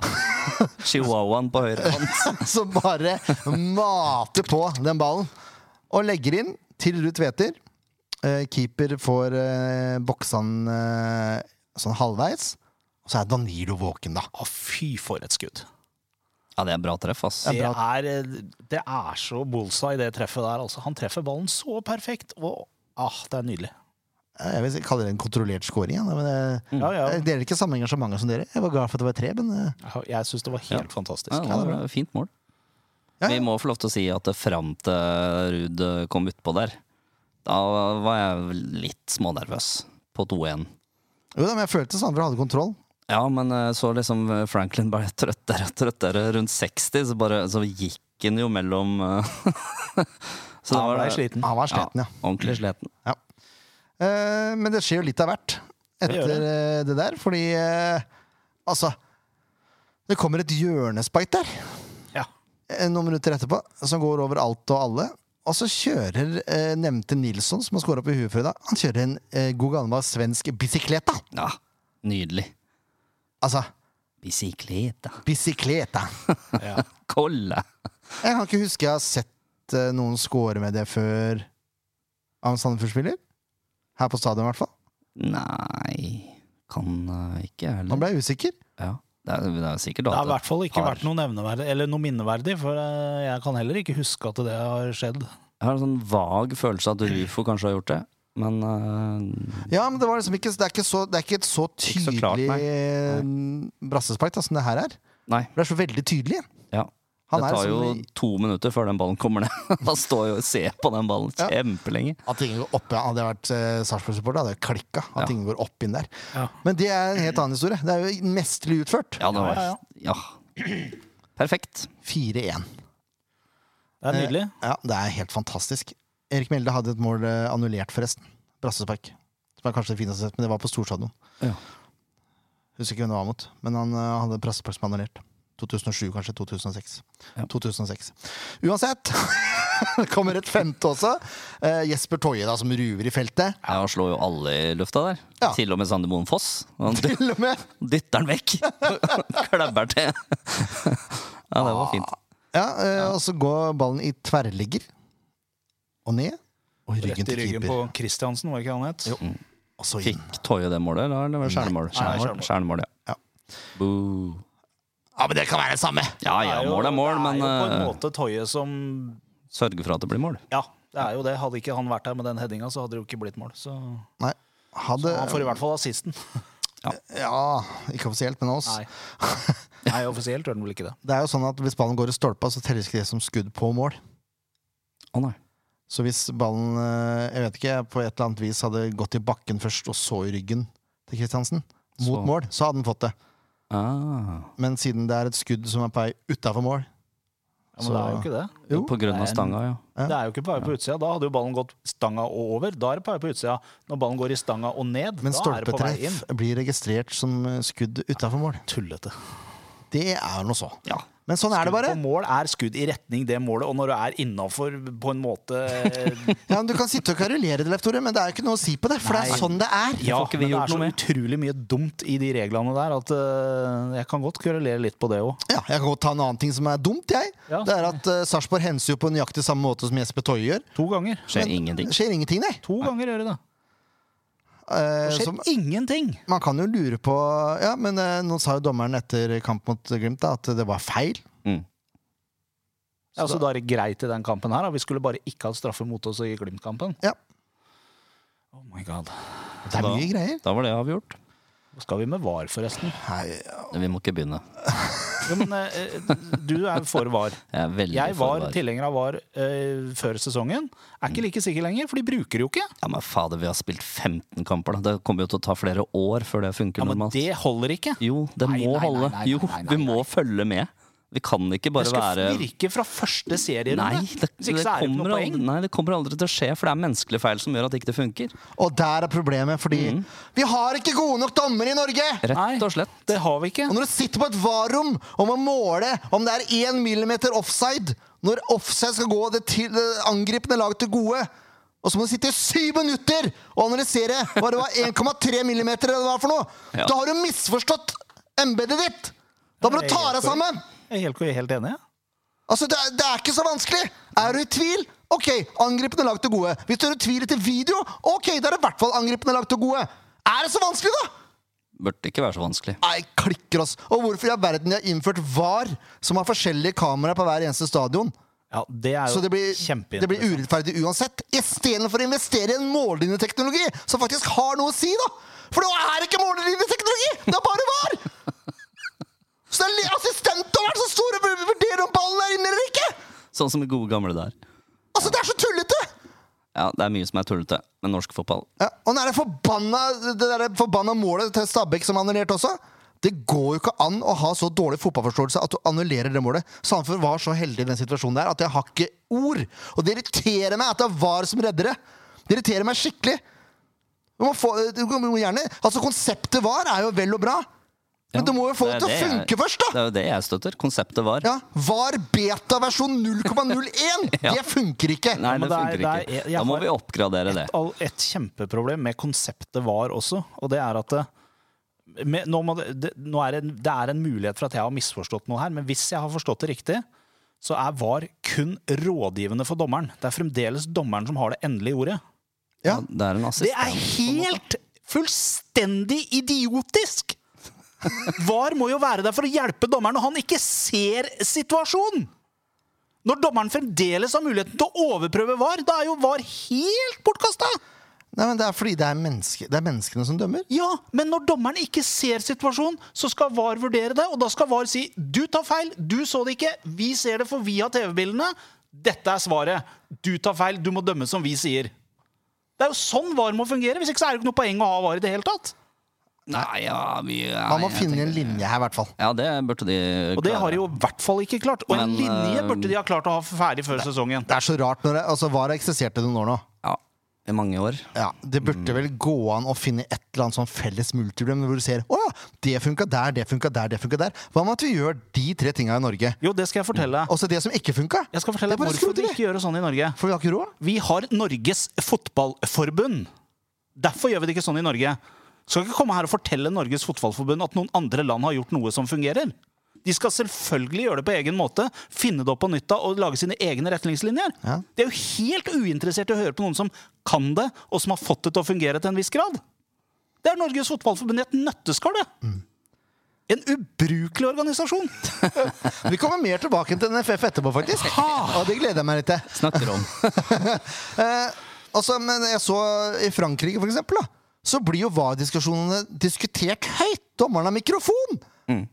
Speaker 3: Chihuahuaen på høyre kant.
Speaker 1: som bare mater på den ballen. Og legger inn til Ruud Tveter. Eh, keeper får eh, boksa han eh, sånn halvveis. Og så er Danilo våken, da.
Speaker 2: Å, Ah, fy for et skudd.
Speaker 3: Ja, det er bra treff, ass.
Speaker 2: Det er, eh, det er så bullseye, det treffet der. Altså. Han treffer ballen så perfekt. Og, ah, det er nydelig.
Speaker 1: Jeg vil si- kalle det en kontrollert scoring. Ja, men jeg,
Speaker 2: Ja, ja.
Speaker 1: jeg deler ikke samme engasjement som dere. Jeg var glad for at det var tre, men eh,
Speaker 2: Jeg syns det var helt fantastisk.
Speaker 3: Ja, det var et fint mål.
Speaker 1: Ja, ja.
Speaker 3: Vi må få lov til å si at det fram til Ruud kom utpå der, da var jeg litt smånervøs på 2-1.
Speaker 1: jo da, men jeg følte Sandra hadde kontroll.
Speaker 3: Ja, men eh, så liksom Franklin ble trøttere og trøttere. Rundt 60 så, bare, så gikk han jo mellom eh, [laughs] Så
Speaker 2: Han ble sliten.
Speaker 1: Han var sliten, ja.
Speaker 3: ordentlig sliten.
Speaker 1: Eh, men det skjer jo litt av hvert etter
Speaker 2: gjør det.
Speaker 1: eh, det der, fordi eh, Altså, det kommer et hjørnespark der
Speaker 2: Ja.
Speaker 1: eh, noen minutter etterpå, som går over alt og alle. Og så kjører eh, nevnte Nilsson, som har skåra på huet før i dag, han kjører en eh, god gammel svensk bisikleta.
Speaker 3: Ja, nydelig.
Speaker 1: Altså,
Speaker 3: Bisikleta.
Speaker 1: bisikleta.
Speaker 2: Ja.
Speaker 3: Kolle!
Speaker 1: Jeg kan ikke huske jeg har sett eh, noen score med det før av en Sandefjord-spiller. Her på stadion, i hvert fall.
Speaker 3: Nei Kan eh, ikke
Speaker 1: Nå
Speaker 3: jeg heller.
Speaker 1: ble jeg usikker.
Speaker 3: Ja, det er, det er sikkert
Speaker 2: Det har i
Speaker 3: data.
Speaker 2: hvert fall ikke
Speaker 3: Har.
Speaker 2: vært noe nevneverdig, eller noe minneverdig, for eh, jeg kan heller ikke huske at det har skjedd.
Speaker 3: Jeg har en sånn vag følelse at Rufo kanskje har gjort det, men eh,
Speaker 1: Ja, men det, var liksom ikke, det, er ikke så, det er ikke et så
Speaker 3: Ikke så
Speaker 1: tydelig
Speaker 3: klart, nei.
Speaker 1: eh, brassespark da, som det her er.
Speaker 3: Nei.
Speaker 1: Det er så veldig tydelig.
Speaker 3: Ja.
Speaker 1: Han
Speaker 3: det
Speaker 1: er
Speaker 3: tar
Speaker 1: som
Speaker 3: jo
Speaker 1: i-
Speaker 3: to minutter før den ballen kommer ned. [laughs] Han står jo og ser på den ballen
Speaker 1: Ja.
Speaker 3: kjempelenge.
Speaker 1: At ingen går opp, ja, Hadde jeg vært eh, Sarpsborg-supporter, hadde jeg klikka. At
Speaker 3: Ja.
Speaker 1: ingen går opp inn der.
Speaker 2: Ja.
Speaker 1: Men det er en helt annen historie. Det er jo mesterlig utført.
Speaker 3: Ja, det var
Speaker 2: Ja,
Speaker 3: Ja. Perfekt.
Speaker 1: 4-1.
Speaker 2: Det er nydelig.
Speaker 1: Ja, det er helt fantastisk. Erik Melde hadde et mål eh, annullert, forresten. Brassespark. Som er kanskje det fineste jeg har sett, men det var på Storstadion.
Speaker 3: Ja.
Speaker 1: Husker ikke hvem det var mot, men han eh, hadde et brassespark som annullert. 2007, kanskje. 2006.
Speaker 3: Ja.
Speaker 1: 2006. Uansett! [laughs] det kommer et femte også. Eh, Jesper Toje, da, som ruver i feltet. [laughs]
Speaker 3: Ja, han slår jo alle i lufta der.
Speaker 1: Ja.
Speaker 3: Til og med Sander Moen Foss. Han dy- [laughs]
Speaker 1: Til og med!
Speaker 3: dytter den vekk. [laughs] Klabber til. [laughs] Ja, det var fint.
Speaker 1: Ja, eh, Og så går ballen i tverrligger. og ned. Og ryggen
Speaker 2: Rett i
Speaker 1: til
Speaker 2: ryggen på
Speaker 1: keeper.
Speaker 2: Christiansen, var ikke han het?
Speaker 1: Jo. Og så inn.
Speaker 3: Fikk Toye det målet, eller eller var det skjærmål?
Speaker 2: Nei,
Speaker 3: Skjærmål, skjærmål ja.
Speaker 1: Ja.
Speaker 3: Boo.
Speaker 1: Ja, men det kan være det samme!
Speaker 3: Ja
Speaker 2: Det
Speaker 3: ja,
Speaker 2: er jo-
Speaker 3: mål er mål, men
Speaker 2: Det er jo på en
Speaker 3: eh,
Speaker 2: måte Toye som
Speaker 3: sørge for at det blir mål.
Speaker 2: Ja, det er jo det. Hadde ikke han vært her med den headinga, så hadde det jo ikke blitt mål. Så
Speaker 1: Nei. Hadde
Speaker 2: han får i hvert fall assisten.
Speaker 1: Ja, ikke offisielt, men oss.
Speaker 2: Nei, Nei offisielt gjør han vel ikke det.
Speaker 1: Det er jo sånn at Hvis ballen går i stolpa, så telles ikke det som skudd på mål.
Speaker 3: Å nei.
Speaker 1: Så hvis ballen eh, jeg vet ikke, på et eller annet vis hadde gått i bakken først, og så i ryggen til Kristiansen, mot
Speaker 3: Så.
Speaker 1: mål, så hadde den fått det.
Speaker 3: Ah.
Speaker 1: Men siden det er et skudd som er på vei utafor mål
Speaker 2: Ja, men det er jo ikke det.
Speaker 1: Jo.
Speaker 3: På grunn av
Speaker 2: Nei.
Speaker 3: stanga, ja.
Speaker 1: Ja.
Speaker 2: Det er jo ikke på vei på utsida. Da hadde jo ballen gått stanga og over. Da er det på vei på utsida. Når ballen går i stanga og ned,
Speaker 1: Men
Speaker 2: da er det på vei inn.
Speaker 1: stolpetreff blir registrert som eh, skudd utafor mål.
Speaker 2: Tullete.
Speaker 1: Det er noe så.
Speaker 2: Ja.
Speaker 1: Men sånn er det bare.
Speaker 2: Skudd på mål er skudd i retning det målet, og når du er innafor på en måte
Speaker 1: Ja, men du kan sitte og karulere det, Leif Tore, men det er jo ikke noe å si på det. For det
Speaker 2: Nei.
Speaker 1: er sånn det er.
Speaker 2: Ja,
Speaker 3: får ikke vi
Speaker 2: men [laughs] det
Speaker 3: gjort
Speaker 2: er så
Speaker 3: noe med.
Speaker 2: utrolig mye dumt i de reglene der at eh, jeg kan godt kurellere litt på det òg.
Speaker 1: Ja, jeg kan godt ta en annen ting som er dumt, jeg.
Speaker 2: Ja.
Speaker 1: Det er at uh, Sarpsborg henser jo på nøyaktig samme måte som Jesper Toje gjør.
Speaker 2: To ganger.
Speaker 3: Skjer
Speaker 1: Men
Speaker 3: ingenting.
Speaker 1: Det skjer ingenting, nei.
Speaker 2: To ganger gjør de det.
Speaker 1: Eh,
Speaker 2: Det
Speaker 1: så
Speaker 2: skjer ingenting!
Speaker 1: man kan jo lure på Ja, men eh, nå sa jo dommeren etter kamp mot Glimt da, at det var feil.
Speaker 3: Mm.
Speaker 2: Ja, altså, da er det greit i den kampen her. Da. Vi skulle bare ikke hatt straffe mot oss i Glimt-kampen.
Speaker 1: Ja.
Speaker 2: Oh my god.
Speaker 1: Det er
Speaker 3: Da-
Speaker 1: mye greier.
Speaker 3: Da var det avgjort.
Speaker 2: Hva skal vi med VAR, forresten?
Speaker 1: Nei,
Speaker 3: Vi må ikke begynne.
Speaker 2: Jo, men eh, Du er for [laughs] VAR.
Speaker 3: Jeg er veldig
Speaker 2: Jeg
Speaker 3: for
Speaker 2: var Mm.
Speaker 3: VAR.
Speaker 2: tilhenger av VAR eh, før sesongen. Er ikke like sikker lenger, for de bruker det jo ikke.
Speaker 3: Ja, men fader, vi har spilt 15 kamper, da. Det kommer jo til å ta flere år før det funker
Speaker 2: Ja, Men
Speaker 3: normalt.
Speaker 2: det holder ikke.
Speaker 3: Jo, det
Speaker 2: Nei,
Speaker 3: må
Speaker 2: nei, nei, nei,
Speaker 3: holde.
Speaker 2: nei,
Speaker 3: Jo,
Speaker 2: nei, nei,
Speaker 3: vi må følge med. Vi kan ikke
Speaker 2: Det
Speaker 3: bare
Speaker 2: skal
Speaker 3: være
Speaker 2: virke fra første serierunde.
Speaker 3: Nei det,
Speaker 2: Hvis ikke
Speaker 3: det
Speaker 2: så er det ikke
Speaker 3: kommer
Speaker 2: noe
Speaker 3: aldri,
Speaker 2: poeng.
Speaker 3: nei, det kommer aldri til å skje, for det er menneskelige feil som gjør at ikke det funker.
Speaker 1: Og der er problemet, fordi
Speaker 2: Mm.
Speaker 1: vi har ikke gode nok dommere i Norge!
Speaker 2: Nei.
Speaker 3: Rett og slett.
Speaker 2: Det har vi ikke.
Speaker 1: Og når du sitter på et varom og må måle om det er én millimeter offside, når offside skal gå det, til, det angripende lag til gode, og så må du sitte i syv minutter og analysere hva det var 1,3 millimeter eller hva det var for noe,
Speaker 3: Ja.
Speaker 1: da har du misforstått embetet ditt! Da må du ta deg sammen!
Speaker 2: Jeg er helt, helt enig. jeg.
Speaker 1: Altså, det er, det er ikke så vanskelig! Er du i tvil? Ok, angripende lag til gode. Hvis du er i tvil etter video, ok, da er det i hvert fall angripende lag til gode. Er det så vanskelig, da?
Speaker 3: Burde ikke være så vanskelig.
Speaker 1: Nei, klikker oss. Og hvorfor i all verden de har innført VAR, som har forskjellige kameraer på hver eneste stadion.
Speaker 2: Ja, det er jo
Speaker 1: Så det blir, det blir
Speaker 2: kjempeinteressant.
Speaker 1: urettferdig uansett. Istedenfor å investere i en mållinjeteknologi som faktisk har noe å si, da! For nå er det ikke mållinjeteknologi! Det er bare VAR! Så det er le- assistentdommeren som står og vurderer om ballen er inne eller ikke!
Speaker 3: Sånn som i gode gamle der.
Speaker 1: Altså, det er så tullete!
Speaker 3: Ja, det er mye som er tullete med norsk fotball.
Speaker 1: Ja, og nå er det forbanna, det der forbanna målet til Stabæk som er annullert også. Det går jo ikke an å ha så dårlig fotballforståelse at du annullerer det målet. Sandefjord var så heldig i den situasjonen der at jeg har ikke ord. Og det irriterer meg at det er VAR som redder det. Det irriterer meg skikkelig. Du må få, du må gjerne, altså Konseptet VAR er jo vel og bra, men
Speaker 3: Ja,
Speaker 1: du må jo få det, til å
Speaker 3: er
Speaker 1: funke
Speaker 3: jeg,
Speaker 1: først,
Speaker 3: Det
Speaker 1: da!
Speaker 3: er jo det jeg støtter. Konseptet var.
Speaker 1: Ja, VAR beta-versjon 0,01!
Speaker 3: [laughs] Ja.
Speaker 1: Det funker ikke!
Speaker 3: Nei,
Speaker 2: Ja, men
Speaker 3: det
Speaker 2: det er-
Speaker 3: funker
Speaker 2: det er-
Speaker 3: ikke.
Speaker 2: jeg- jeg
Speaker 3: Da må
Speaker 2: har
Speaker 3: vi oppgradere det.
Speaker 2: all- et kjempeproblem med konseptet var også, og det er at det, med, nå må det, det, nå er det, det er en mulighet for at jeg har misforstått noe her, men hvis jeg har forstått det riktig, så er VAR kun rådgivende for dommeren. Det er fremdeles dommeren som har det endelige ordet.
Speaker 1: Ja.
Speaker 3: Det er en
Speaker 2: Det er
Speaker 3: assistent.
Speaker 2: helt fullstendig idiotisk! VAR må jo være der for å hjelpe dommeren når han ikke ser situasjonen! Når dommeren fremdeles har muligheten til å overprøve VAR, da er jo VAR helt bortkasta!
Speaker 1: Nei, men Det er fordi det er, menneske, det er menneskene som dømmer.
Speaker 2: Ja, men når dommeren ikke ser situasjonen, så skal VAR vurdere det, og da skal VAR si 'du tar feil, du så det ikke, vi ser det, for vi har TV-bildene'. Dette er svaret. Du tar feil, du må dømme som vi sier. Det er jo sånn VAR må fungere, hvis ikke så er det ikke noe poeng å ha VAR i det hele tatt.
Speaker 3: Nei, ja, vi
Speaker 1: Man må
Speaker 3: nei, jeg
Speaker 1: finne
Speaker 3: tenker-
Speaker 1: en linje her, i hvert fall.
Speaker 3: Ja, det burde de
Speaker 2: Og det har de jo i hvert fall ikke klart. Og en
Speaker 3: Men,
Speaker 2: linje
Speaker 3: eh,
Speaker 2: burde de ha klart å ha ferdig før sesongen.
Speaker 1: Det er så rart når det, altså VAR har eksistert i noen år nå.
Speaker 3: Ja, i mange år.
Speaker 1: Ja, Det
Speaker 2: Mm.
Speaker 1: burde vel gå an å finne et eller annet sånn felles multiplum hvor du ser å ja, det funka der, det funka der, det funka der. Hva med at vi gjør de tre tinga i Norge?
Speaker 2: Jo, det skal jeg fortelle.
Speaker 1: Også det som ikke funka.
Speaker 2: Jeg skal fortelle
Speaker 1: Det er bare
Speaker 2: hvorfor de
Speaker 1: skroter i.
Speaker 2: ikke gjør det sånn i Norge.
Speaker 1: For vi har ikke råd.
Speaker 2: Vi har Norges fotballforbund. Derfor gjør vi det ikke sånn i Norge. Skal ikke komme her og fortelle Norges fotballforbund at noen andre land har gjort noe som fungerer. De skal selvfølgelig gjøre det på egen måte, finne det opp på nytt av og lage sine egne retningslinjer.
Speaker 1: Ja.
Speaker 2: De er jo helt uinteressert i å høre på noen som kan det, og som har fått det til å fungere til en viss grad. Det er Norges Fotballforbund i et nøtteskall, det. En ubrukelig organisasjon!
Speaker 1: Vi kommer mer tilbake til NFF etterpå,
Speaker 2: [laughs]
Speaker 1: faktisk. Og det gleder jeg meg litt til.
Speaker 3: Snakker om.
Speaker 1: Eh, altså, men jeg så i Frankrike, for eksempel, da, så blir jo VAR-diskusjonene diskutert høyt. Dommeren har mikrofon!
Speaker 3: Mm.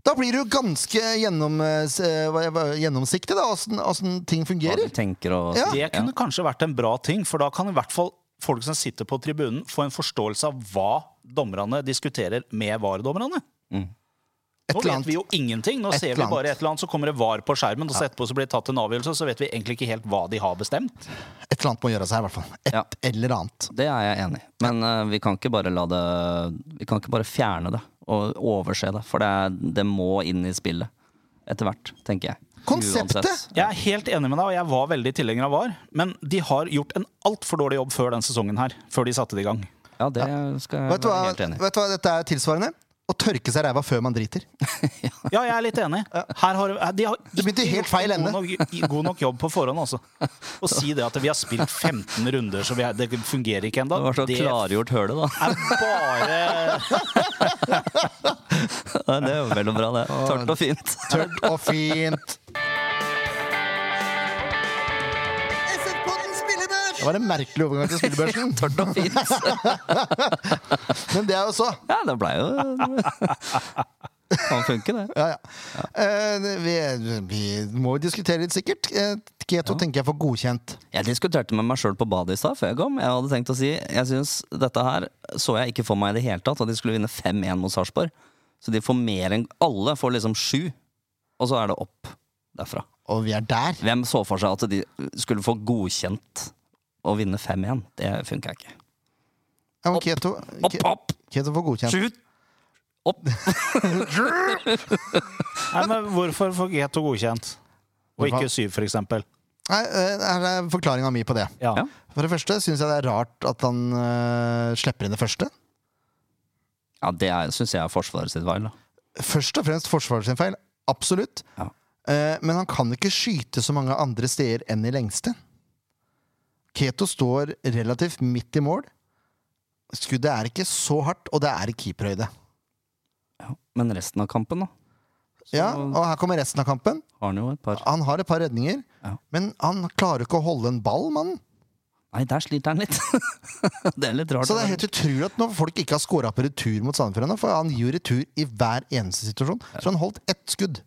Speaker 1: Da blir det jo ganske gjennom, eh, s- eh, hva- hva- gjennomsiktig, da, åssen- åssen ting
Speaker 3: Hva de
Speaker 1: fungerer.
Speaker 3: tenker og sånn.
Speaker 1: Ja.
Speaker 2: Det kunne kanskje vært en bra ting, for da kan i hvert fall folk som sitter på tribunen, få en forståelse av hva dommerne diskuterer med VAR-dommerne.
Speaker 1: Et eller
Speaker 2: Nå vet
Speaker 1: annet.
Speaker 2: vi jo ingenting. Nå
Speaker 1: Et
Speaker 2: ser vi
Speaker 1: eller annet.
Speaker 2: bare et eller annet, så kommer det VAR på skjermen, og så etterpå så blir det tatt en avgjørelse, og så vet vi egentlig ikke helt hva de har bestemt.
Speaker 1: Et eller annet må gjøres her, i hvert fall. Et
Speaker 3: Ja.
Speaker 1: eller annet.
Speaker 3: Det er jeg enig i. Men eh, vi kan ikke bare la det Vi kan ikke bare fjerne det og overse det. For det, er, det må inn i spillet etter hvert, tenker jeg.
Speaker 1: Konseptet?
Speaker 3: Uansett.
Speaker 2: Jeg er helt enig med deg, og jeg var veldig tilhenger av VAR, men de har gjort en altfor dårlig jobb før den sesongen her, før de satte det i gang.
Speaker 3: Ja, det skal jeg
Speaker 1: Vet du,
Speaker 3: være
Speaker 1: hva,
Speaker 3: helt enig i.
Speaker 1: vet du hva dette er tilsvarende? Å tørke seg ræva før man driter.
Speaker 2: Ja, jeg er litt enig. Her har, de har
Speaker 1: Du begynte i
Speaker 2: ikke
Speaker 1: helt feil
Speaker 2: gjort en
Speaker 1: ende.
Speaker 2: God nok, god nok jobb på forhånd, altså. Å si det at vi har spilt 15 runder, så vi er, det fungerer ikke ennå,
Speaker 3: Det var så
Speaker 2: det
Speaker 3: klargjort hølet, da.
Speaker 2: er bare
Speaker 3: [laughs] Det er jo veldig bra, det. Tørt og fint.
Speaker 1: Tørt og fint. Det var en merkelig overgang til spillebørsen.
Speaker 3: [laughs] Tørt og fint.
Speaker 1: Men det er jo så.
Speaker 3: Ja, det blei jo Kan funke, det.
Speaker 1: Ja, ja. Eh, vi, vi må jo diskutere litt, sikkert. Eh, Keto tenker jeg får godkjent.
Speaker 3: Jeg diskuterte med meg sjøl på badet i stad før jeg kom. Jeg hadde tenkt å si Jeg synes dette her så jeg ikke for meg i det hele tatt, at de skulle vinne 5-1 mot Sarpsborg. Så de får mer enn Alle får liksom sju, og så er det opp derfra.
Speaker 1: Og vi er der.
Speaker 3: Hvem så for seg at de skulle få godkjent å vinne 5-1? Det funka ikke.
Speaker 1: Ja, men Keto,
Speaker 3: Opp, opp!
Speaker 1: Keto får godkjent.
Speaker 3: Sju! Opp!
Speaker 2: Nei, men Hvorfor får G2 godkjent, og
Speaker 1: Hvorfor?
Speaker 2: ikke 7, for eksempel?
Speaker 1: Nei, eh, her er forklaringa mi på det.
Speaker 2: Ja.
Speaker 3: Ja.
Speaker 1: For det første syns jeg det er rart at han eh, slipper inn det første.
Speaker 3: Ja, det syns jeg er Forsvaret sitt valg, da.
Speaker 1: Først og fremst forsvaret sin feil. Absolutt.
Speaker 3: Ja.
Speaker 1: Eh, men han kan ikke skyte så mange andre steder enn i lengste. Keto står relativt midt i mål. Skuddet er ikke så hardt, og det er i keeperhøyde.
Speaker 3: Ja. Men resten av kampen, da?
Speaker 1: Ja, og her kommer resten av kampen.
Speaker 3: Har han jo et par
Speaker 1: Han har et par redninger,
Speaker 3: Ja.
Speaker 1: men han klarer ikke å holde en ball, mannen.
Speaker 3: Nei, der sliter han litt. [laughs] det er litt rart.
Speaker 1: Så det er helt utrolig at når folk ikke har scora på retur mot Sandefjord ennå, for han gir jo retur i hver eneste situasjon. Så han holdt ett skudd.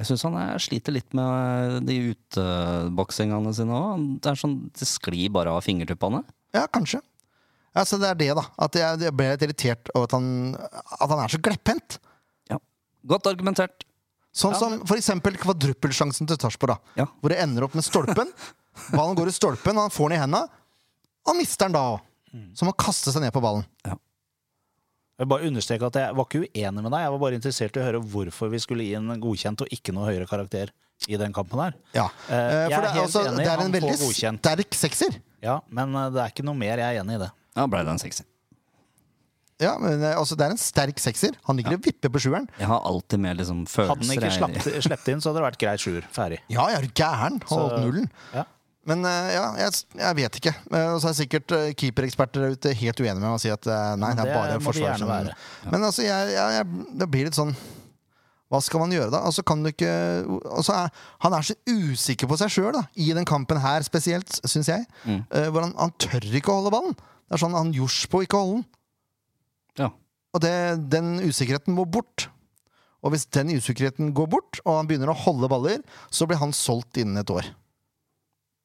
Speaker 3: Jeg syns han er, sliter litt med eh, de uteboksingene sine òg. Det er sånn, det sklir bare av fingertuppene.
Speaker 1: Ja, kanskje. Ja, så det er det, da. At jeg, jeg ble litt irritert over at han, at han er så glepphendt.
Speaker 3: Ja. Godt argumentert.
Speaker 1: Sånn som for eksempel kvadruppelsjansen til Sarpsborg, da.
Speaker 3: Ja.
Speaker 1: Hvor det ender opp med stolpen.
Speaker 2: [laughs]
Speaker 1: Ballen går i stolpen, og han får den i henda. Og mister den da òg.
Speaker 2: Mm.
Speaker 1: Så må han kaste seg ned på ballen.
Speaker 2: Jeg vil bare understreke at jeg var ikke uenig med deg, jeg var bare interessert i å høre hvorfor vi skulle gi en godkjent og ikke noe høyere karakter i den kampen her.
Speaker 1: Ja.
Speaker 2: Eh,
Speaker 1: Eh,
Speaker 2: jeg
Speaker 1: for det,
Speaker 2: er
Speaker 1: er
Speaker 2: helt
Speaker 1: altså,
Speaker 2: enig,
Speaker 1: det er
Speaker 2: han
Speaker 1: en
Speaker 2: får
Speaker 1: veldig
Speaker 2: godkjent.
Speaker 1: sterk sekser.
Speaker 2: Ja, men eh, det er ikke noe mer jeg er enig i det.
Speaker 3: Ja, blei det en sekser.
Speaker 1: Ja, men eh, altså, det er en sterk sekser. Han ligger og vipper på sjueren.
Speaker 3: Jeg har alltid mer liksom følelser.
Speaker 2: Hadde den ikke
Speaker 3: jeg-
Speaker 2: slapp- sleppet inn, så hadde det vært greit sjuer. Ferdig.
Speaker 1: Ja, jeg er du gæren. Han holdt nullen.
Speaker 2: Ja.
Speaker 1: Men eh, ja, jeg, jeg vet ikke. Eh, Og så er sikkert eh, keepereksperter der ute helt uenige med meg og sier at eh, nei, det er
Speaker 2: det
Speaker 1: bare
Speaker 2: må de
Speaker 1: forsvar
Speaker 2: gjerne
Speaker 1: som
Speaker 2: være.
Speaker 1: Men altså, jeg, jeg, jeg, det blir litt sånn Hva skal man gjøre da? Altså, kan du ikke altså, er, Han er så usikker på seg sjøl, da, i den kampen her spesielt, syns jeg. Eh, hvor han, han tør ikke å holde ballen. Det er sånn han gjorde på ikke å holde den.
Speaker 3: Ja.
Speaker 1: Og det, den usikkerheten må bort. Og hvis den usikkerheten går bort, og han begynner å holde baller, så blir han solgt innen et år.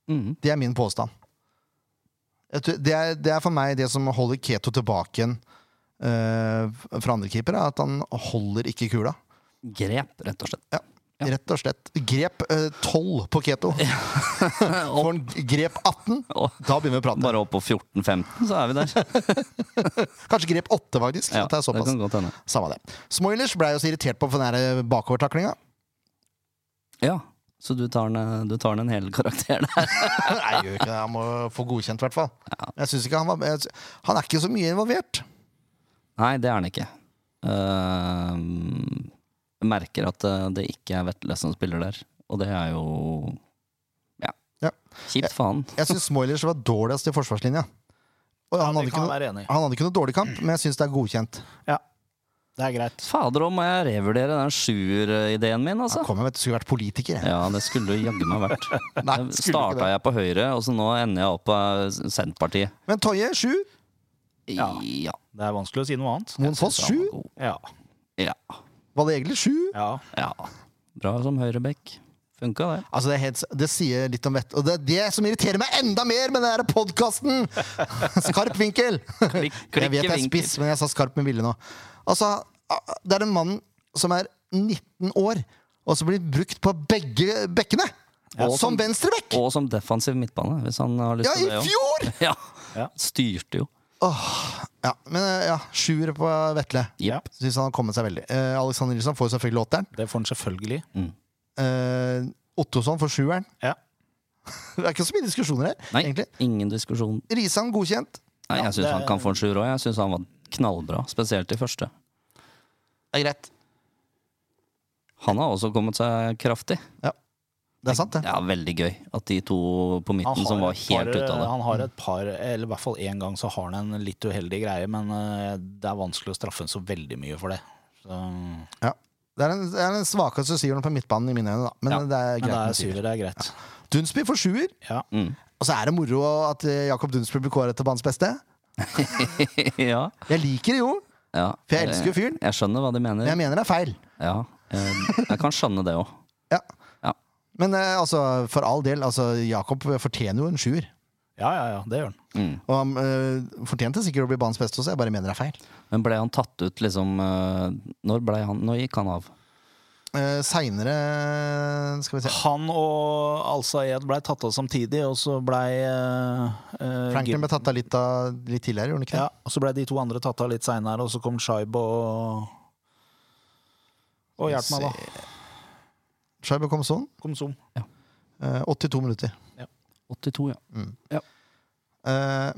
Speaker 3: Mhm.
Speaker 1: Det er min påstand. Jeg tror- Det er, det er for meg det som holder Keto tilbake igjen eh, fra andre keepere, er at han holder ikke kula.
Speaker 3: Grep, rett og slett.
Speaker 1: Ja. Rett og slett. Grep eh, 12 på Keto. [laughs] Får han grep 18,
Speaker 3: Og
Speaker 1: da begynner vi å prate.
Speaker 3: bare opp på 14-15, så er vi der.
Speaker 1: [laughs] Kanskje grep 8, faktisk.
Speaker 3: Ja,
Speaker 1: at det er såpass.
Speaker 3: kan godt hende.
Speaker 1: Samme det. Smoilers ble jeg jo så irritert på for den her eh, bakovertaklinga.
Speaker 3: Ja, så du tar den, du tar den en hel karakter der.
Speaker 1: Nei, jeg gjør ikke det. Han må få godkjent, i hvert fall. Jeg synes ikke han var jeg, Han er ikke så mye involvert.
Speaker 3: Nei, det er den ikke. Ehm, Jeg merker at eh, det ikke er Vetle som spiller der, og det er jo Ja.
Speaker 1: Ja.
Speaker 3: Kjipt faen.
Speaker 1: Jeg syns Smoilers var dårligst i forsvarslinja. Og han,
Speaker 2: Ja,
Speaker 1: hadde
Speaker 2: det
Speaker 1: ikke
Speaker 2: kan
Speaker 1: noe,
Speaker 2: jeg være enig i.
Speaker 1: han hadde ikke noe dårlig kamp, men jeg syns det er godkjent.
Speaker 2: Det er greit.
Speaker 3: Fader, om må jeg revurdere den sjuer-ideen min, altså.
Speaker 1: Han kom jeg, vet du, skulle vært politiker. jeg.
Speaker 3: Ja, det skulle jo jaggu meg vært.
Speaker 1: [laughs] Nei, skulle ikke
Speaker 3: Starta
Speaker 1: det.
Speaker 3: jeg på høyre, og så nå ender jeg opp på eh, Senterpartiet.
Speaker 1: Men Toje, sju.
Speaker 3: Ja.
Speaker 2: Det er vanskelig å si noe annet.
Speaker 1: Moen Foss,
Speaker 3: synes han
Speaker 1: sju.
Speaker 3: var god.
Speaker 2: Ja.
Speaker 3: Ja.
Speaker 1: Valle Egeli, sju.
Speaker 2: ja.
Speaker 3: ja. Bra som høyrebekk. Funka det.
Speaker 1: Altså, det, er helt, det sier litt om vett. Og det er det som irriterer meg enda mer med den podkasten! [laughs] Skarp vinkel!
Speaker 3: Klikk,
Speaker 1: [laughs] Jeg vet jeg er
Speaker 3: vinkel.
Speaker 1: spiss, men jeg sa skarp med vilje nå. Altså, det er en mann som er 19 år, og som blir brukt på begge bekkene!
Speaker 3: og
Speaker 1: som
Speaker 3: som-
Speaker 1: venstrebekk!
Speaker 3: Og som defensiv midtbane, hvis han har lyst
Speaker 1: Ja, i
Speaker 3: til det. også.
Speaker 1: fjor!
Speaker 3: Ja.
Speaker 2: Ja.
Speaker 3: Styrte jo.
Speaker 1: Ja, men eh, ja, sjuer på Vetle.
Speaker 2: Ja.
Speaker 1: Syns han har kommet seg veldig. Eh, Alexander Nilsson får selvfølgelig åtteren.
Speaker 2: Det får han selvfølgelig.
Speaker 3: Mm.
Speaker 1: Eh, Ottosson får sjueren. [laughs]
Speaker 2: Ja.
Speaker 1: Det er ikke så mye diskusjoner her,
Speaker 3: Nei,
Speaker 1: egentlig.
Speaker 3: ingen diskusjon.
Speaker 1: Risan godkjent.
Speaker 3: Nei, jeg syns
Speaker 2: det-
Speaker 3: han kan få en sjuer òg. Jeg syns han var knallbra, spesielt i første.
Speaker 1: Det er greit.
Speaker 3: Han har også kommet seg kraftig.
Speaker 1: Det er sant, det.
Speaker 3: Ja, veldig gøy at de to på
Speaker 2: Han
Speaker 3: midten
Speaker 2: har
Speaker 3: som var
Speaker 2: et
Speaker 3: helt
Speaker 2: par-
Speaker 3: ute av det. Mm.
Speaker 2: Han har et par, eller i hvert fall én gang så har han en litt uheldig greie, men eh, det er vanskelig å straffe han så veldig mye for det. Så,
Speaker 1: Ja. Det er den, det er den svakeste syveren på midtbanen i mine øyne, da. Men
Speaker 3: Ja,
Speaker 1: det er
Speaker 2: men det
Speaker 1: greit.
Speaker 2: er syver, det er greit.
Speaker 1: Dunsby får sjuer.
Speaker 2: Ja.
Speaker 3: Mm.
Speaker 1: Og så er det moro at eh, Jakob Dunsby blir kåret til banens beste.
Speaker 3: [laughs] ja,
Speaker 1: Jeg liker det jo,
Speaker 3: ja.
Speaker 1: for jeg elsker jo fyren.
Speaker 3: Jeg skjønner hva de
Speaker 1: Men
Speaker 3: mener.
Speaker 1: jeg mener det er feil.
Speaker 3: Ja, eh, jeg kan skjønne det òg.
Speaker 1: Ja.
Speaker 3: Ja.
Speaker 1: Men eh, altså, for all del, altså, Jakob fortjener jo en sjuer.
Speaker 2: ja, ja, ja, det gjør han.
Speaker 1: Og han eh, fortjente sikkert å bli banens beste også, jeg bare mener det er feil.
Speaker 3: Men ble han tatt ut, liksom eh, Når, ble han, når gikk han av?
Speaker 1: Uh, Seinere Skal vi se.
Speaker 2: Han og Al-Sayed ble tatt av samtidig, og så ble eh, eh,
Speaker 1: Franklin ble tatt av litt, av litt tidligere, gjorde han ikke det?
Speaker 2: Ja, og så ble de to andre tatt av litt seinere, og så kom Shaib og Og hjelp meg, da.
Speaker 1: Scheibe kom sånn.
Speaker 2: Kom Zoom.
Speaker 1: eh, 82 minutter.
Speaker 3: 82, ja.
Speaker 1: Mm. Eh,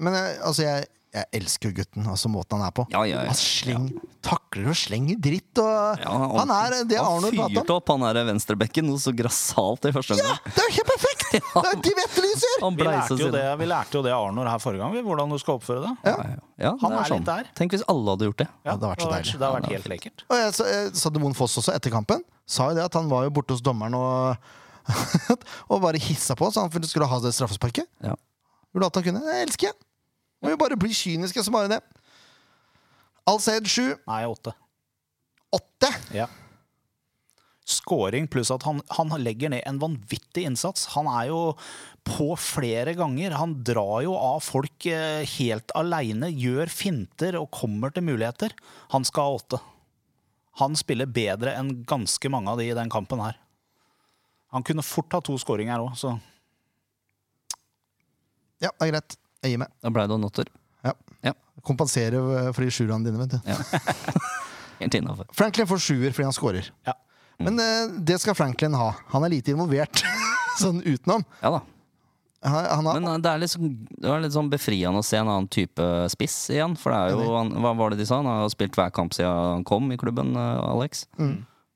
Speaker 1: men jeg, altså, jeg, jeg elsker jo gutten, altså måten han er på.
Speaker 3: Ja, ja, ja.
Speaker 1: Han sleng, takler og slenger dritt, og
Speaker 3: Ja,
Speaker 1: han, er det Arnold prata om.
Speaker 3: fyrte opp han der venstrebekken noe så grassat i første omgang.
Speaker 1: Det er jo helt
Speaker 3: [laughs]
Speaker 1: perfekt! Det er de vettelyser!
Speaker 3: Han
Speaker 2: Vi lærte,
Speaker 3: bleisa
Speaker 2: jo det,
Speaker 3: sine.
Speaker 2: vi lærte jo det av Arnor her forrige gang, vi, hvordan du skal oppføre deg.
Speaker 3: Ja, ja. ja, det
Speaker 2: Han
Speaker 3: er
Speaker 2: er
Speaker 3: sånn.
Speaker 2: litt der.
Speaker 3: Tenk hvis alle hadde gjort det.
Speaker 1: Ja, det har vært så deilig.
Speaker 2: Det har vært
Speaker 3: Ja, det
Speaker 2: helt lekkert.
Speaker 1: Og jeg, så, jeg, Sademon Foss også, etter kampen, sa jo det at han var jo borte hos dommeren og [laughs] Og bare hissa på, så han skulle ha det straffesparket.
Speaker 3: Ja.
Speaker 1: Gjorde alt han kunne. Det elsker jeg! Må jo bare bli kyniske som bare det. Al-Sayed 7.
Speaker 2: Nei, åtte.
Speaker 1: 8.
Speaker 2: Ja. Scoring pluss at han, han legger ned en vanvittig innsats. Han er jo på flere ganger. Han drar jo av folk eh, helt aleine, gjør finter og kommer til muligheter. Han skal ha åtte. Han spiller bedre enn ganske mange av de i den kampen her. Han kunne fort ha to skåringer òg, så
Speaker 1: Ja, det er greit. Jeg gir meg.
Speaker 3: Da blei det jo notter.
Speaker 1: Ja.
Speaker 3: Ja.
Speaker 1: Kompensere eh, for de sjuerne dine, vet du.
Speaker 3: Helt innafor.
Speaker 1: Franklin får sjuer fordi han scorer.
Speaker 2: ja.
Speaker 3: Mm.
Speaker 1: Men eh, det skal Franklin ha. Han er lite involvert [laughs] sånn utenom.
Speaker 3: Ja da.
Speaker 1: Han, han har,
Speaker 3: Men eh, det er, litt sånn- det er litt sånn befriende å se en annen type spiss igjen. For det er jo, han, hva var det de sa? Han har jo spilt hver kamp siden han kom i klubben, eh, Alex.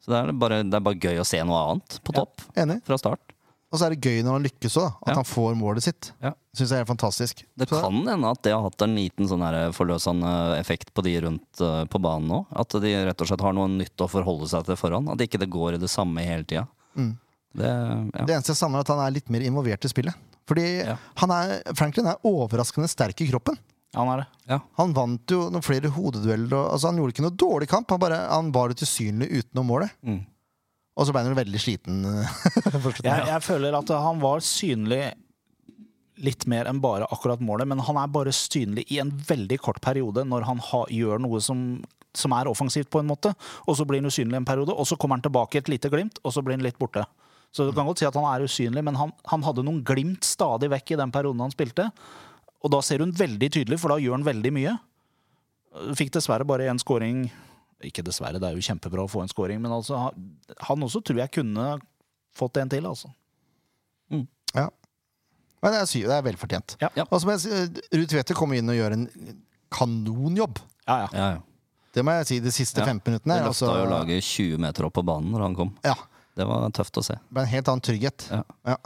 Speaker 3: Så det er bare, det er bare gøy å se noe annet på topp
Speaker 1: Enig.
Speaker 3: fra start.
Speaker 1: Og så er det gøy når han lykkes òg, at
Speaker 3: Ja.
Speaker 1: han får målet sitt.
Speaker 3: Ja.
Speaker 1: Synes jeg er helt fantastisk.
Speaker 3: Det
Speaker 1: Så-
Speaker 3: kan hende at det har hatt en liten sånn her forløsende effekt på de rundt eh, på banen nå. At de rett og slett har noe nytt å forholde seg til foran. At ikke det går i det samme hele tida. Det, ja.
Speaker 1: Det eneste jeg savner, er at han er litt mer involvert i spillet. Fordi
Speaker 3: Ja.
Speaker 1: han er, Franklin er overraskende sterk i kroppen.
Speaker 2: han er det.
Speaker 3: Ja.
Speaker 1: Han vant jo noen flere hodedueller. Og, altså, han gjorde ikke noe dårlig kamp, han, bare, han var utilsynlig utenom målet.
Speaker 3: Mm.
Speaker 1: Og så ble han jo veldig sliten. eh, forstått.
Speaker 2: Jeg, jeg føler at han var synlig litt mer enn bare akkurat målet, men han er bare synlig i en veldig kort periode når han ha, gjør noe som, som er offensivt, på en måte. Og så blir han usynlig en periode, og så kommer han tilbake i et lite glimt, og så blir han litt borte. Så du kan godt si at han er usynlig, men han, han hadde noen glimt stadig vekk i den perioden han spilte. Og da ser hun veldig tydelig, for da gjør han veldig mye. Fikk dessverre bare én scoring. Ikke dessverre, det er jo kjempebra å få en scoring, men altså, han- han også tror jeg kunne fått en til, altså.
Speaker 1: Ja. Men det er, syv, det er velfortjent.
Speaker 2: Ja.
Speaker 3: Ja.
Speaker 1: Og så må jeg si, eh, Ruud Tvedte kommer inn og gjør en kanonjobb.
Speaker 2: Ja, ja.
Speaker 3: Ja, ja.
Speaker 1: Det må jeg si. De siste
Speaker 3: Ja.
Speaker 1: 15 minuttene.
Speaker 3: Det løfta
Speaker 1: altså-
Speaker 3: jo laget 20 meter opp på banen når han kom.
Speaker 1: Ja.
Speaker 3: Det var tøft å se.
Speaker 1: Det ble en helt annen trygghet.
Speaker 3: Ja.
Speaker 1: Ja.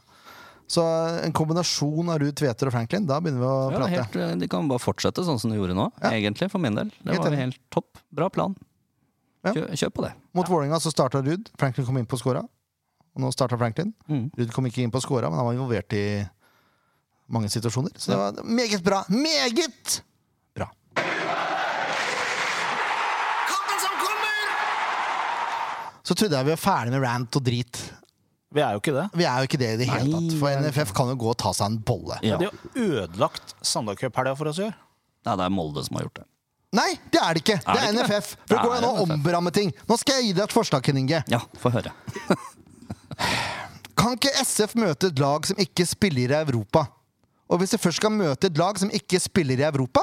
Speaker 1: Så en kombinasjon av Ruud Tveter og Franklin, da begynner vi å
Speaker 3: Ja,
Speaker 1: prate.
Speaker 3: helt, eh, de kan bare fortsette sånn som de gjorde nå,
Speaker 1: Ja.
Speaker 3: egentlig, for min del. Det
Speaker 1: Helt
Speaker 3: var
Speaker 1: enig.
Speaker 3: helt topp. Bra plan.
Speaker 1: Ja.
Speaker 3: Kjør, kjør på det.
Speaker 1: Mot Vålerenga så starta Ruud. Franklin kom inn på skåra. Og nå starta Franklin.
Speaker 3: Mm.
Speaker 1: Ruud kom ikke inn på skåra, men han var involvert i mange situasjoner. Så det var meget bra. Meget bra.
Speaker 4: Kampen som kommer!
Speaker 1: Så trodde jeg vi var ferdig med rant og drit.
Speaker 2: Vi er jo ikke det.
Speaker 1: Vi er jo ikke det i det hele
Speaker 3: Nei,
Speaker 1: tatt. For NFF kan jo gå og ta seg en bolle.
Speaker 3: Ja.
Speaker 2: De har ødelagt Sandal Cup-helga for oss i år.
Speaker 3: Nei, det er Molde som har gjort det.
Speaker 1: Nei, det er det ikke! Det er
Speaker 3: det ikke det?
Speaker 1: NFF. For
Speaker 3: Det
Speaker 1: nå går
Speaker 3: er
Speaker 1: jeg nå og
Speaker 3: NFF.
Speaker 1: omrammer ting. Nå skal jeg gi deg et forslag, Ken Inge.
Speaker 3: Ja, få høre.
Speaker 1: Kan ikke SF møte et lag som ikke spiller i Europa? Og hvis de først skal møte et lag som ikke spiller i Europa,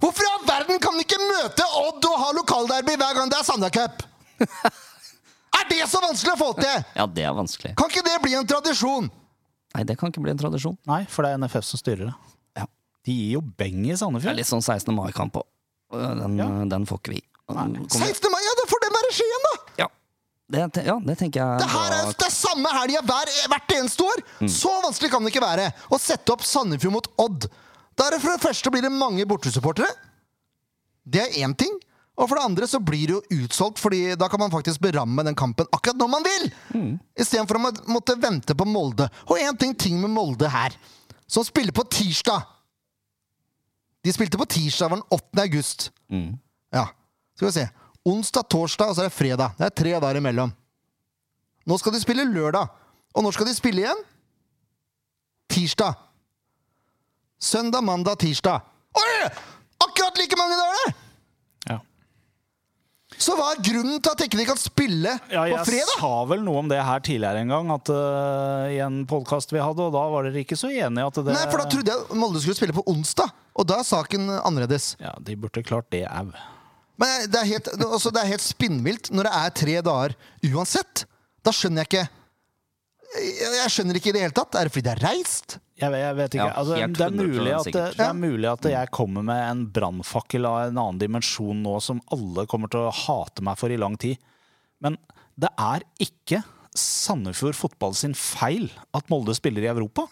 Speaker 1: hvorfor i all verden kan de ikke møte Odd og ha lokalderby hver gang det er Sanda Cup? er det så vanskelig å få til?
Speaker 3: Ja, det er vanskelig.
Speaker 1: Kan ikke det bli en tradisjon?
Speaker 3: Nei, det kan ikke bli en tradisjon.
Speaker 2: Nei, for det er NFF som styrer det.
Speaker 3: Ja.
Speaker 2: De gir jo beng i
Speaker 3: Det er
Speaker 2: Sandefjord.
Speaker 3: litt sånn 16. mai-kamp òg. Den,
Speaker 2: Ja.
Speaker 3: den får ikke vi. Den kommer-
Speaker 1: 16. mai, ja, det får dem være Skien, da!
Speaker 3: Ja. Det, te- ja, det tenker jeg
Speaker 1: Det her er
Speaker 3: var- Mm.
Speaker 1: det er samme helga hver, hvert eneste år! Så vanskelig kan det ikke være å sette opp Sandefjord mot Odd. Da er det for det første blir det mange bortesupportere. Det er én ting. Og for det andre så blir det jo utsolgt, Fordi da kan man faktisk beramme den kampen akkurat når man vil!
Speaker 3: Mm.
Speaker 1: Istedenfor å må- måtte vente på Molde. Og én ting, ting med Molde her, som spiller på tirsdag. De spilte på tirsdag, var den 8. august.
Speaker 3: Mm.
Speaker 1: Ja, skal vi se. Onsdag, torsdag, og så er det fredag. Det er tre dager imellom. Nå skal de spille lørdag. Og når skal de spille igjen? Tirsdag. Søndag, mandag, tirsdag. Oi! Akkurat like mange dager! det!
Speaker 2: Ja.
Speaker 1: Så hva er grunnen til at ikke de kan spille
Speaker 2: Ja,
Speaker 1: på
Speaker 2: jeg
Speaker 1: fredag?
Speaker 2: sa vel noe om det her tidligere en gang, at, eh, i en podkast vi hadde, og da var dere ikke så enige at det
Speaker 1: Nei, for da trodde jeg Molde skulle spille på onsdag, og da er saken annerledes.
Speaker 2: Ja, de burde klart det au.
Speaker 1: Men det er helt, det, altså, det er helt spinnvilt når det er tre dager uansett. Da skjønner jeg ikke Jeg, jeg skjønner ikke i det hele tatt. Er det fordi det er reist?
Speaker 2: Jeg, vet- jeg vet ikke.
Speaker 3: Ja,
Speaker 2: altså,
Speaker 3: helt
Speaker 2: det, er mulig
Speaker 3: 100%
Speaker 2: at, det,
Speaker 3: sikkert.
Speaker 2: det er mulig at jeg kommer med en brannfakkel av en annen dimensjon nå som alle kommer til å hate meg for i lang tid. Men det er ikke Sandefjord fotball sin feil at Molde spiller i Europa.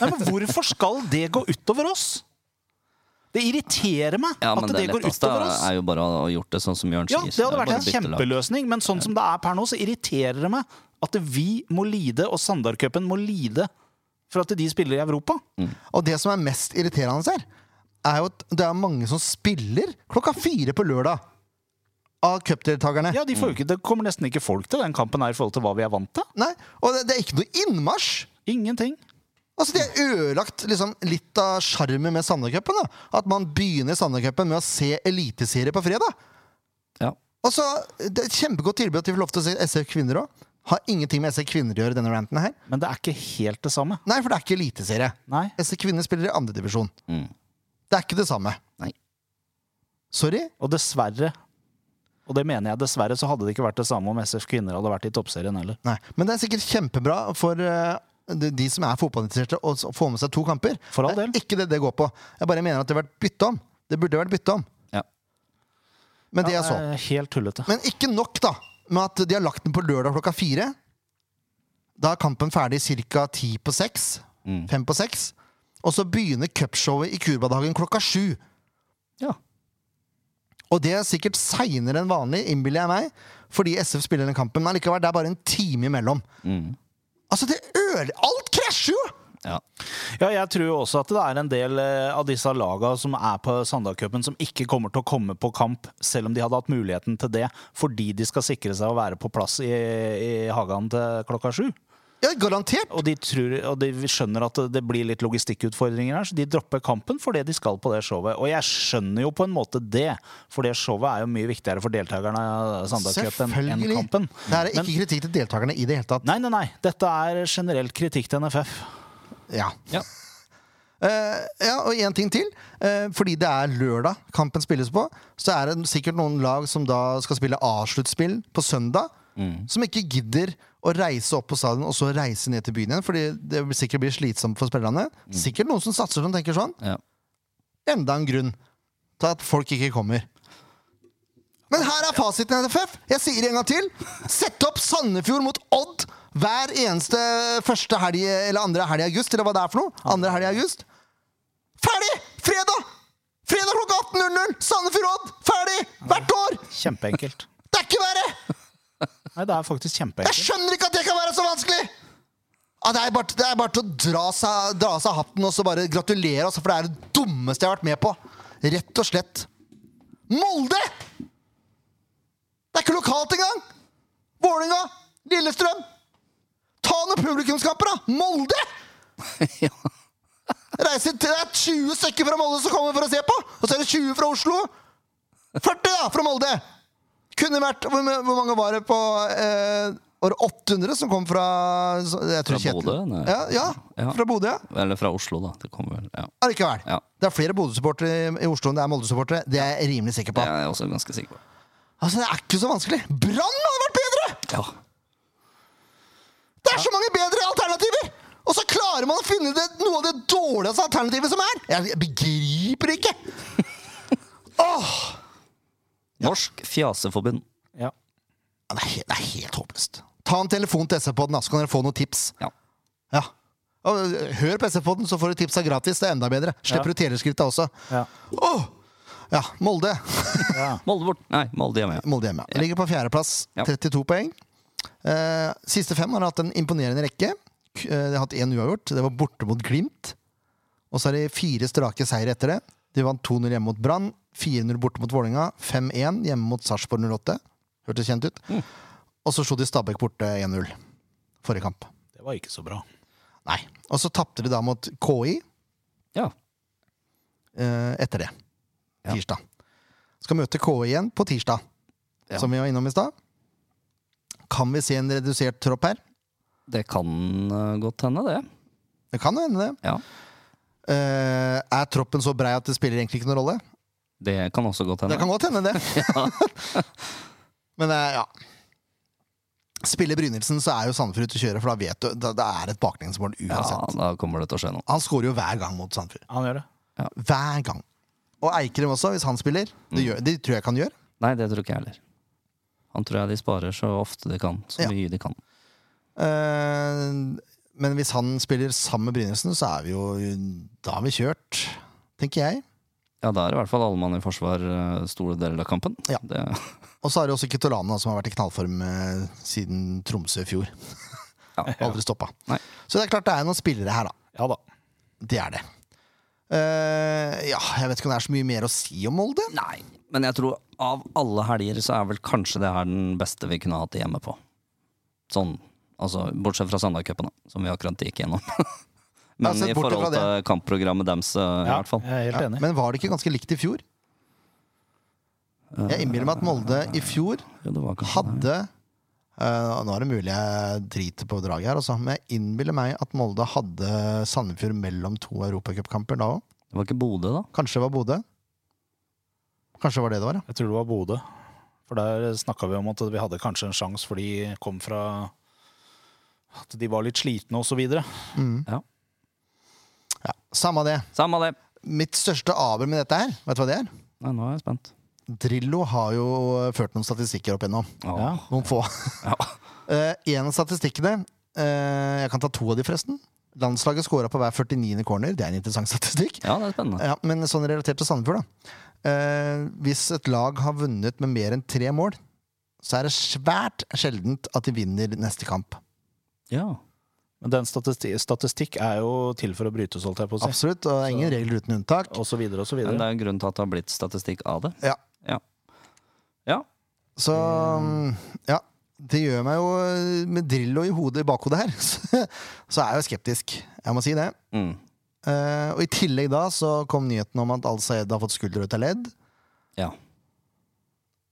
Speaker 2: Nei, men Hvorfor skal det gå utover oss? Det irriterer meg
Speaker 3: Ja, men
Speaker 2: at
Speaker 3: det,
Speaker 2: det, går
Speaker 3: letteste
Speaker 2: utover oss.
Speaker 3: er jo bare å ha gjort det sånn som Jørn
Speaker 2: Ja,
Speaker 3: sier.
Speaker 2: det hadde
Speaker 3: er
Speaker 2: vært
Speaker 3: bare
Speaker 2: en
Speaker 3: å bytte lag.
Speaker 2: kjempeløsning, men sånn som det er per nå, så irriterer det meg at vi må lide, og Sandarcupen må lide, for at de spiller i Europa.
Speaker 1: Og det som er mest irriterende her, er jo at det er mange som spiller klokka fire på lørdag. Av cupdeltakerne.
Speaker 2: Ja, de får jo ikke, Det kommer nesten ikke folk til den kampen her i forhold til hva vi er vant til.
Speaker 1: Nei, Og det, det er ikke noe innmarsj!
Speaker 2: Ingenting.
Speaker 1: Altså, De har ødelagt liksom, litt av sjarmen med Sandercupen. At man begynner Sandercupen med å se eliteserie på fredag.
Speaker 3: Ja.
Speaker 1: Og så, det er et Kjempegodt tilbud at vi får lov til å se SF Kvinner òg. Har ingenting med SF Kvinner å gjøre, denne ranten her.
Speaker 2: Men det er ikke helt det samme.
Speaker 1: Nei, for det er ikke eliteserie.
Speaker 2: Nei.
Speaker 1: SF Kvinner spiller i andredivisjon.
Speaker 3: Mm.
Speaker 1: Det er ikke det samme.
Speaker 3: Nei.
Speaker 1: Sorry.
Speaker 2: Og dessverre, og det mener jeg dessverre, så hadde det ikke vært det samme om SF Kvinner hadde vært i toppserien heller.
Speaker 1: Nei. Men det er sikkert kjempebra for eh, de, de som er fotballinteresserte, å s- å få med seg to kamper.
Speaker 2: For all
Speaker 1: det
Speaker 2: del.
Speaker 1: er ikke det det går på. Jeg bare mener at det har vært bytte om. Det burde vært bytte om.
Speaker 3: Ja.
Speaker 1: Men det jeg så.
Speaker 2: er Helt tullete.
Speaker 1: Men ikke nok da med at de har lagt den på lørdag klokka fire. Da er kampen ferdig ca. ti på seks.
Speaker 3: Mm.
Speaker 1: Fem på seks. Og så begynner cupshowet i Kurbadagen klokka sju.
Speaker 3: Ja.
Speaker 1: Og det er sikkert seinere enn vanlig, innbiller jeg meg, fordi SF spiller den kampen. Men allikevel, det er bare en time imellom.
Speaker 3: Mm.
Speaker 1: Altså, det øl... Alt krasjer jo!
Speaker 3: ja.
Speaker 2: Ja, jeg tror jo også at det er en del eh, av disse laga som er på Sandalcupen som ikke kommer til å komme på kamp, selv om de hadde hatt muligheten til det, fordi de skal sikre seg å være på plass i, i hagen til klokka sju.
Speaker 1: Ja, garantert.
Speaker 2: Og de, tror, og de skjønner at det blir litt logistikkutfordringer her, så de dropper kampen fordi de skal på det showet. Og jeg skjønner jo på en måte det, for det showet er jo mye viktigere for deltakerne av Sandalcupen enn
Speaker 1: Selvfølgelig.
Speaker 2: kampen.
Speaker 1: Det her er ikke kritikk til deltakerne i det hele tatt.
Speaker 2: Nei, nei, nei. Dette er generelt kritikk til NFF.
Speaker 1: Ja.
Speaker 3: Ja.
Speaker 1: Eh, ja, og én ting til. Eh, fordi det er lørdag kampen spilles på, så er det sikkert noen lag som da skal spille avsluttspill på søndag, som ikke gidder å reise opp på stadion og så reise ned til byen igjen. Fordi det vil sikkert blir slitsomt for spillerne. Sikkert noen som satser som tenker sånn.
Speaker 3: Ja.
Speaker 1: Enda en grunn til at folk ikke kommer. Men her er fasiten i NFF. Jeg sier det en gang til. Sett opp Sandefjord mot Odd hver eneste første helg eller andre helg i august, eller hva det er for noe. Andre helg i august. Ferdig! Fredag! Fredag klokka 18.00! Sandefjord-Odd! Ferdig! Hvert år!
Speaker 2: Kjempeenkelt.
Speaker 1: Det er ikke verre!
Speaker 2: Nei, det er faktisk
Speaker 1: Jeg
Speaker 2: kjempeenkelt.
Speaker 1: skjønner ikke at det kan være så vanskelig! Ja, det, er bare, det er bare til å dra seg, dra seg hatten og så bare gratulere, altså, for det er det dummeste jeg har vært med på. Rett og slett. Molde! Det er ikke lokalt engang! Vålinga, Lillestrøm. Ta noen publikumskamper, da! Molde!
Speaker 3: [laughs] Ja.
Speaker 1: Reiser til, det er 20 stykker fra Molde som kommer for å se på, og så er det 20 fra Oslo. 40 da, fra Molde! Kunne vært, hvor, hvor mange var det på eh, Var det 800 som kom fra så- jeg tror
Speaker 3: Fra
Speaker 1: Kjetil-
Speaker 3: Bodø, nei.
Speaker 1: Ja, ja,
Speaker 3: Ja.
Speaker 1: fra Bodø, ja.
Speaker 3: Eller fra Oslo, da. Det kommer vel, ja.
Speaker 1: Allikevel.
Speaker 3: Ja.
Speaker 1: Det er flere Bodø-supportere i- i Oslo enn det er Molde-supportere. Det er jeg rimelig sikker
Speaker 3: Det
Speaker 1: på.
Speaker 3: er jeg også ganske sikker på.
Speaker 1: Altså, Det er ikke så vanskelig. Brann hadde vært bedre!
Speaker 3: Ja.
Speaker 1: Det er så mange bedre alternativer! Og så klarer man å finne det, noe av det dårligste alternativet som er! Jeg begriper det ikke! Åh!
Speaker 3: Norsk Fjaseforbund.
Speaker 2: Ja.
Speaker 1: Ja, Det er, helt, det er helt håpløst. Ta en telefon til SV-podden, så kan dere få noen tips.
Speaker 3: Ja.
Speaker 1: Ja. Og, øh, Hør på SV-podden, så får du tipsa gratis. Det er enda bedre. Slipper
Speaker 2: Ja.
Speaker 1: du teleskrifta også.
Speaker 2: Ja.
Speaker 1: Åh! Ja, Molde.
Speaker 2: ja.
Speaker 3: Molde bort. Nei, Molde hjemme. Ja.
Speaker 1: Molde hjemme. Ligger på fjerdeplass.
Speaker 3: Ja.
Speaker 1: 32 poeng. Eh, siste fem har hatt en imponerende rekke. K- eh, De har hatt én uavgjort. Det var borte mot Glimt. Og så har de fire strake seire etter det. De vant 2-0 hjemme mot Brann, 4-0 borte mot Vålerenga, 5-1 hjemme mot Sarpsborg 08. Hørtes kjent ut.
Speaker 3: Mm.
Speaker 1: Og så slo de Stabæk borte 1-0 forrige kamp.
Speaker 2: Det var ikke så bra.
Speaker 1: Nei. Og så tapte de da mot KI
Speaker 3: ja.
Speaker 1: eh, etter det.
Speaker 3: Ja.
Speaker 1: Tirsdag. Skal møte KI igjen på tirsdag,
Speaker 3: Ja.
Speaker 1: som vi var innom i stad. Kan vi se en redusert tropp her?
Speaker 3: Det kan eh, godt hende, det.
Speaker 1: Det kan jo hende, det.
Speaker 3: Ja.
Speaker 1: Eh, er troppen så brei at det spiller egentlig ikke noen rolle?
Speaker 3: Det kan også godt hende.
Speaker 1: Det kan godt
Speaker 3: [laughs]
Speaker 1: hende, det. [laughs] Men eh, ja. Spiller Brynildsen, så er jo Sandefjord ute å kjøre, for da vet du da, da er et baklengsmål
Speaker 3: ja,
Speaker 1: uansett.
Speaker 3: da kommer det til å skje noe.
Speaker 1: Han skårer jo hver gang mot Sandefjord.
Speaker 2: Han gjør det.
Speaker 1: Hver gang. Og Eikrem også, hvis han spiller. Det,
Speaker 3: Mm.
Speaker 1: gjør, det tror jeg kan gjøre.
Speaker 3: Nei, det tror ikke jeg heller. Han tror jeg de sparer så ofte de kan. Så
Speaker 1: Ja.
Speaker 3: mye de kan.
Speaker 1: Eh, men hvis han spiller sammen med Brynildsen, så er vi jo Da har vi kjørt, tenker jeg.
Speaker 3: Ja, da er det i hvert fall alle mann i forsvar eh, store deler av kampen.
Speaker 1: Ja.
Speaker 3: Det,
Speaker 1: Og så er det også Kitolana, som har vært i knallform eh, siden Tromsø i
Speaker 2: [laughs]
Speaker 1: fjor.
Speaker 3: ja.
Speaker 1: Aldri stoppa.
Speaker 3: Nei.
Speaker 1: Så det er klart det er noen spillere her, da.
Speaker 2: Ja da.
Speaker 1: Det er det. Eh, ja, jeg vet ikke om det er så mye mer å si om Molde.
Speaker 3: Nei, men jeg tror av alle helger så er vel kanskje det her den beste vi kunne hatt hjemme på. Sånn, altså bortsett fra Sandacupen, da, som vi akkurat gikk gjennom. [laughs] men
Speaker 1: Ja, sett
Speaker 3: i
Speaker 1: bort
Speaker 3: forhold
Speaker 1: fra det.
Speaker 3: til kampprogrammet deres, eh, i hvert fall.
Speaker 2: jeg er helt
Speaker 1: Ja,
Speaker 2: enig.
Speaker 1: men var det ikke ganske likt i fjor? Jeg innbiller meg at Molde i fjor
Speaker 3: Jo, det var kanskje det.
Speaker 1: hadde eh, Nå er det mulig jeg driter på draget her, altså, men jeg innbiller meg at Molde hadde Sandefjord mellom to europacupkamper da òg.
Speaker 3: det var ikke Bodø, da?
Speaker 1: Kanskje det var Bodø? Kanskje det var det det var, ja.
Speaker 2: Jeg tror det var Bodø. For der snakka vi om at vi hadde kanskje en sjanse, for de kom fra At de var litt slitne, og så videre.
Speaker 3: Ja.
Speaker 1: ja. Samme det.
Speaker 3: Samme det!
Speaker 1: Mitt største aber med dette her, vet du hva det er?
Speaker 3: Nei, nå er jeg spent.
Speaker 1: Drillo har jo ført noen statistikker opp igjennom.
Speaker 3: Åh,
Speaker 2: Ja.
Speaker 1: Noen få.
Speaker 3: ja.
Speaker 1: [laughs] Eh, en av statistikkene eh, Jeg kan ta to av de, forresten. Landslaget scora på hver 49. corner. Det er en interessant statistikk.
Speaker 3: [laughs] ja, det er spennende.
Speaker 1: Ja, men sånn relatert til Sandefjord, da. Eh, hvis et lag har vunnet med mer enn tre mål, så er det svært sjeldent at de vinner neste kamp.
Speaker 3: Ja.
Speaker 2: Men den statistikk, statistikk er jo til for å brytes, holdt jeg på å si.
Speaker 1: Absolutt. Og det er ingen regler uten unntak.
Speaker 2: Og så videre og så
Speaker 3: Men det
Speaker 2: videre.
Speaker 3: er en grunn til at det har blitt statistikk av det.
Speaker 1: Ja.
Speaker 3: Ja. Ja.
Speaker 1: Så mm, ja. Det gjør meg jo eh, med Drillo i hodet i bakhodet her, [laughs] så er jeg jo skeptisk. Jeg må si det.
Speaker 3: Mm.
Speaker 1: Eh, og i tillegg da så kom nyheten om at Al Sayed har fått skulder ut av ledd.
Speaker 3: ja.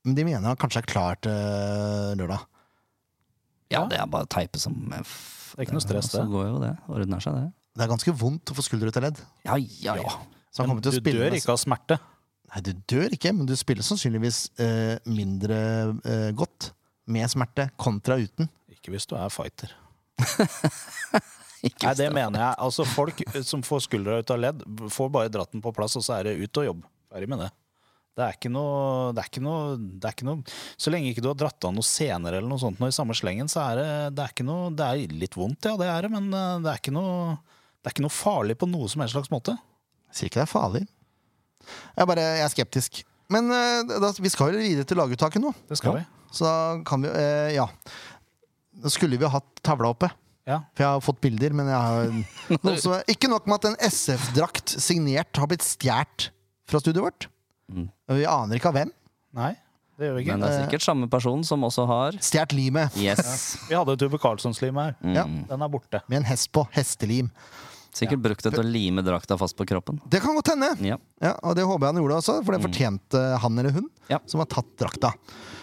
Speaker 1: Men de mener han kanskje er klar til eh, lørdag.
Speaker 3: Ja,
Speaker 2: Ja.
Speaker 3: det er bare teipe som f...
Speaker 2: Det er ikke noe stress,
Speaker 3: Så
Speaker 2: det.
Speaker 3: går jo det. Ordner seg, det.
Speaker 1: Det er ganske vondt å få skulder ut av ledd.
Speaker 3: Ja, ja, ja.
Speaker 1: Så han
Speaker 2: Men
Speaker 1: kommer til å
Speaker 2: du
Speaker 1: spille
Speaker 2: dør ikke av smerte.
Speaker 1: Nei, du dør ikke, men du spiller sannsynligvis eh, mindre eh, godt med smerte kontra uten.
Speaker 2: Ikke hvis du er fighter.
Speaker 3: Ikke
Speaker 2: Nei, det
Speaker 3: stress.
Speaker 2: mener jeg. Altså, [laughs] folk som får skuldra ut av ledd, får bare dratt den på plass, og så er det ut og jobb. Ferdig med det. Det er ikke noe, det er ikke noe, det er ikke noe Så lenge ikke du har dratt av noe senere eller noe sånt nå i samme slengen, så er det, det er ikke noe Det er litt vondt, ja, det er det, men eh, det er ikke noe det er ikke noe farlig på noe som helst slags måte.
Speaker 1: Sier ikke det er farlig. Jeg, bare, jeg er skeptisk. Men eh, da, vi skal jo videre til laguttaket nå.
Speaker 2: Det skal
Speaker 1: Så da kan vi eh, Ja. Da skulle vi ha hatt tavla oppe.
Speaker 2: vi. Ja.
Speaker 1: For jeg har fått bilder, men jeg
Speaker 3: [laughs]
Speaker 1: har noe som er, Ikke nok med at en SF-drakt signert har blitt stjålet fra studioet vårt.
Speaker 3: Mm.
Speaker 1: Og Vi aner ikke av hvem.
Speaker 2: Nei, det gjør vi ikke.
Speaker 3: Men det
Speaker 1: Eh.
Speaker 3: er sikkert samme person som også har
Speaker 1: Stjålet limet
Speaker 3: Yes.
Speaker 2: Vi hadde Tuve Carlsson-slim her.
Speaker 1: Ja.
Speaker 2: Den er borte.
Speaker 1: med en hest på. Hestelim.
Speaker 3: Sikkert brukt det til å lime drakta fast på kroppen.
Speaker 1: Det kan godt hende!
Speaker 3: Ja.
Speaker 1: Ja, og det håper jeg han gjorde også, for det fortjente han eller hun
Speaker 3: Mm. Ja.
Speaker 1: som har tatt drakta.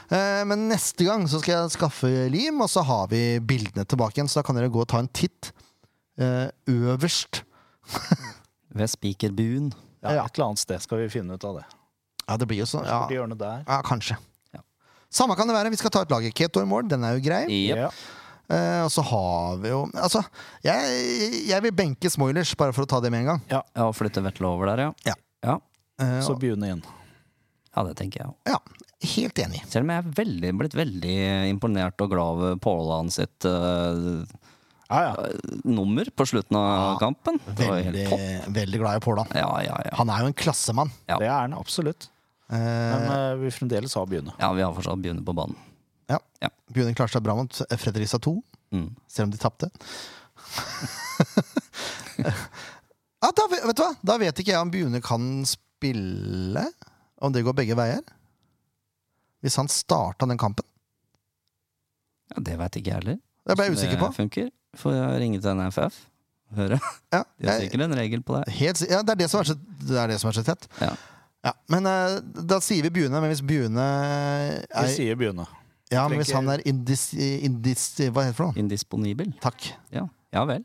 Speaker 1: Eh, Men neste gang så skal jeg skaffe lim, og så har vi bildene tilbake igjen. Så da kan dere gå og ta en titt eh, øverst.
Speaker 3: Ved spikerbuen.
Speaker 2: Ja,
Speaker 1: Ja.
Speaker 2: Et eller annet sted skal vi finne ut av det.
Speaker 1: Ja, det blir jo sånn.
Speaker 2: Borti
Speaker 1: Ja,
Speaker 2: hjørnet der.
Speaker 1: ja kanskje.
Speaker 3: Ja.
Speaker 1: Samme kan det være. Vi skal ta ut laget Keto i morgen. Den er jo grei.
Speaker 3: Yep.
Speaker 2: Ja.
Speaker 1: Eh, og så har vi jo Altså, jeg, jeg vil benke Smoilers, bare for å ta det med en gang.
Speaker 3: Ja, og flytte Vetle over der, ja.
Speaker 1: Ja.
Speaker 3: ja.
Speaker 1: Eh,
Speaker 2: Så begynne igjen.
Speaker 3: Ja, det tenker jeg òg.
Speaker 1: ja, helt enig.
Speaker 3: Selv om jeg er veldig, blitt veldig imponert og glad over Pålan sitt eh,
Speaker 2: Ja, ja.
Speaker 3: nummer på slutten av kampen. Det var helt
Speaker 1: Veldig,
Speaker 3: topp.
Speaker 1: veldig glad i Pålan.
Speaker 3: Ja, ja, ja.
Speaker 1: Han er jo en klassemann.
Speaker 3: Ja.
Speaker 2: Det er den absolutt.
Speaker 1: Eh,
Speaker 2: Men eh, vi fremdeles har begynne.
Speaker 3: ja, vi har fortsatt begynner på banen.
Speaker 1: Begynner klarte seg bra mot Fredrikstad 2,
Speaker 3: Mm.
Speaker 1: selv om de tapte. [laughs] ja, da, ve- vet du hva? da vet ikke jeg om Bune kan spille, om det går begge veier. Hvis han starta den kampen.
Speaker 3: Ja, det veit ikke jeg heller.
Speaker 1: Det ble jeg usikker på.
Speaker 3: Det funker. Får jeg ringe til NFF og høre.
Speaker 1: Ja,
Speaker 3: De har
Speaker 1: jeg-
Speaker 3: sikkert en regel på det.
Speaker 1: Helt, si- ja, det er det som er så, det er det som er så tett.
Speaker 3: Ja.
Speaker 1: Ja, men eh, da sier vi Bune, men hvis Bune
Speaker 2: Vi
Speaker 1: er,
Speaker 2: sier begynne.
Speaker 1: ja, men hvis
Speaker 2: tenker-
Speaker 1: han er indis, indis... Hva heter det for noe?
Speaker 3: Indisponibel.
Speaker 1: Takk.
Speaker 3: Ja, ja vel.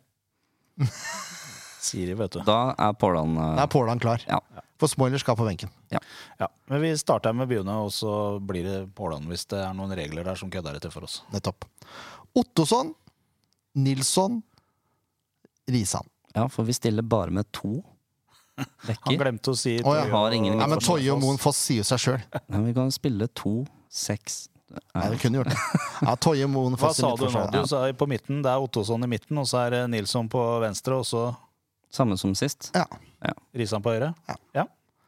Speaker 2: Siri, vet du.
Speaker 3: Da er eh, Pålan
Speaker 1: Da er Pålan klar.
Speaker 3: Ja.
Speaker 1: For spoiler skal på benken.
Speaker 2: Ja, men vi starter med begynne, og så blir det pålan hvis det er noen regler der som kødder etter for oss.
Speaker 1: Nettopp. Ottosson, Nilsson, Risan.
Speaker 3: Ja, for vi stiller bare med
Speaker 1: [laughs]
Speaker 3: to
Speaker 2: Han
Speaker 3: bekker.
Speaker 2: glemte å si
Speaker 1: Å, ja.
Speaker 2: Toye
Speaker 3: Har ingen
Speaker 2: og-
Speaker 1: Nei, men Toje og
Speaker 2: Foss.
Speaker 1: Moen Foss sier jo seg sjøl.
Speaker 3: Men vi kan spille to, seks
Speaker 1: Ja, det kunne gjort det.
Speaker 2: [laughs]
Speaker 1: Ja, Toje Moen
Speaker 2: Hva
Speaker 1: Foss i
Speaker 2: sa du nå?
Speaker 1: midtforsvaret.
Speaker 2: Du sa på midten, det er Ottosson i midten, og så er det Nilsson på venstre, og så
Speaker 3: Samme som sist.
Speaker 1: Ja.
Speaker 2: Risan på høyre?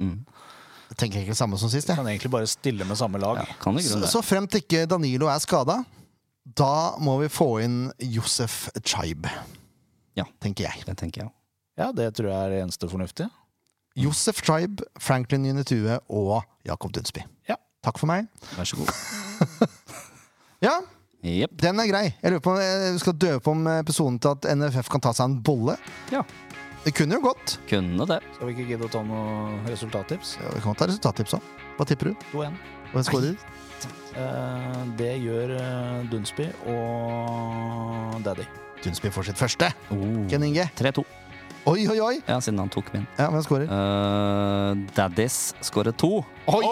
Speaker 3: Mm.
Speaker 1: Jeg tenker ikke det samme som sist, jeg.
Speaker 2: Kan egentlig bare stille med samme
Speaker 3: Ja,
Speaker 2: lag.
Speaker 3: kan i
Speaker 1: Så,
Speaker 3: grunnen det.
Speaker 1: så fremt ikke Danilo er skada, da må vi få inn Josef Chaib.
Speaker 3: Ja.
Speaker 1: Tenker jeg.
Speaker 3: Det tenker jeg.
Speaker 2: Ja, det tror jeg er det eneste fornuftige.
Speaker 1: Josef Chaib, Franklin Unitue og Jakob Dunsby.
Speaker 2: Ja.
Speaker 1: Takk for meg.
Speaker 3: Vær så god.
Speaker 1: Ja,
Speaker 3: Jepp.
Speaker 1: den er grei. Jeg lurer på om jeg skal døpe om episoden til at NFF kan ta seg en bolle.
Speaker 3: Ja,
Speaker 1: Det kunne jo gått.
Speaker 3: kunne det.
Speaker 2: Skal vi ikke gidde å ta noen resultattips?
Speaker 1: Ja, Vi kan ta resultattips òg. Hva tipper du?
Speaker 2: 2-1.
Speaker 1: Hvem skårer?
Speaker 2: Eh, Det gjør eh, Dunsby og Daddy.
Speaker 1: Dunsby får sitt første.
Speaker 3: Oh.
Speaker 1: Ken Inge.
Speaker 3: 3-2.
Speaker 1: Oi, oi, oi!
Speaker 3: Ja, siden han tok min.
Speaker 1: Ja, hvem skårer?
Speaker 3: Uh, Daddies skårer to.
Speaker 1: Oi!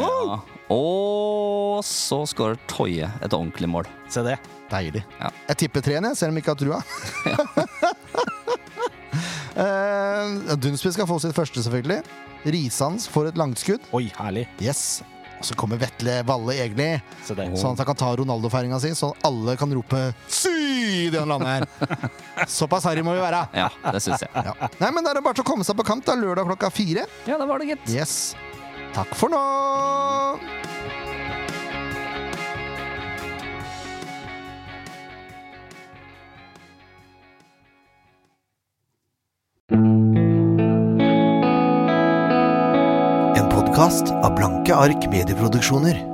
Speaker 3: Ja. Og så skårer Toje et ordentlig mål.
Speaker 2: Se det.
Speaker 1: Deilig.
Speaker 3: Ja.
Speaker 1: Jeg tipper treen, jeg, selv om jeg ikke har trua. Eh, Dunsby skal få sitt første, selvfølgelig. Risans får et langskudd.
Speaker 2: Oi, herlig.
Speaker 1: Yes. Og så kommer Vetle Valle Egli,
Speaker 2: Se det.
Speaker 1: sånn at han kan ta Ronaldo-feiringa si, så alle kan rope 'sy' idet han lander. Såpass harry må vi være.
Speaker 3: Ja, det syns jeg.
Speaker 1: Ja. Nei, men Da er det bare til å komme seg på kamp da, lørdag klokka fire.
Speaker 3: Ja, det var det, gitt.
Speaker 1: Yes. Takk for nå!
Speaker 5: En podkast av Blanke ark medieproduksjoner.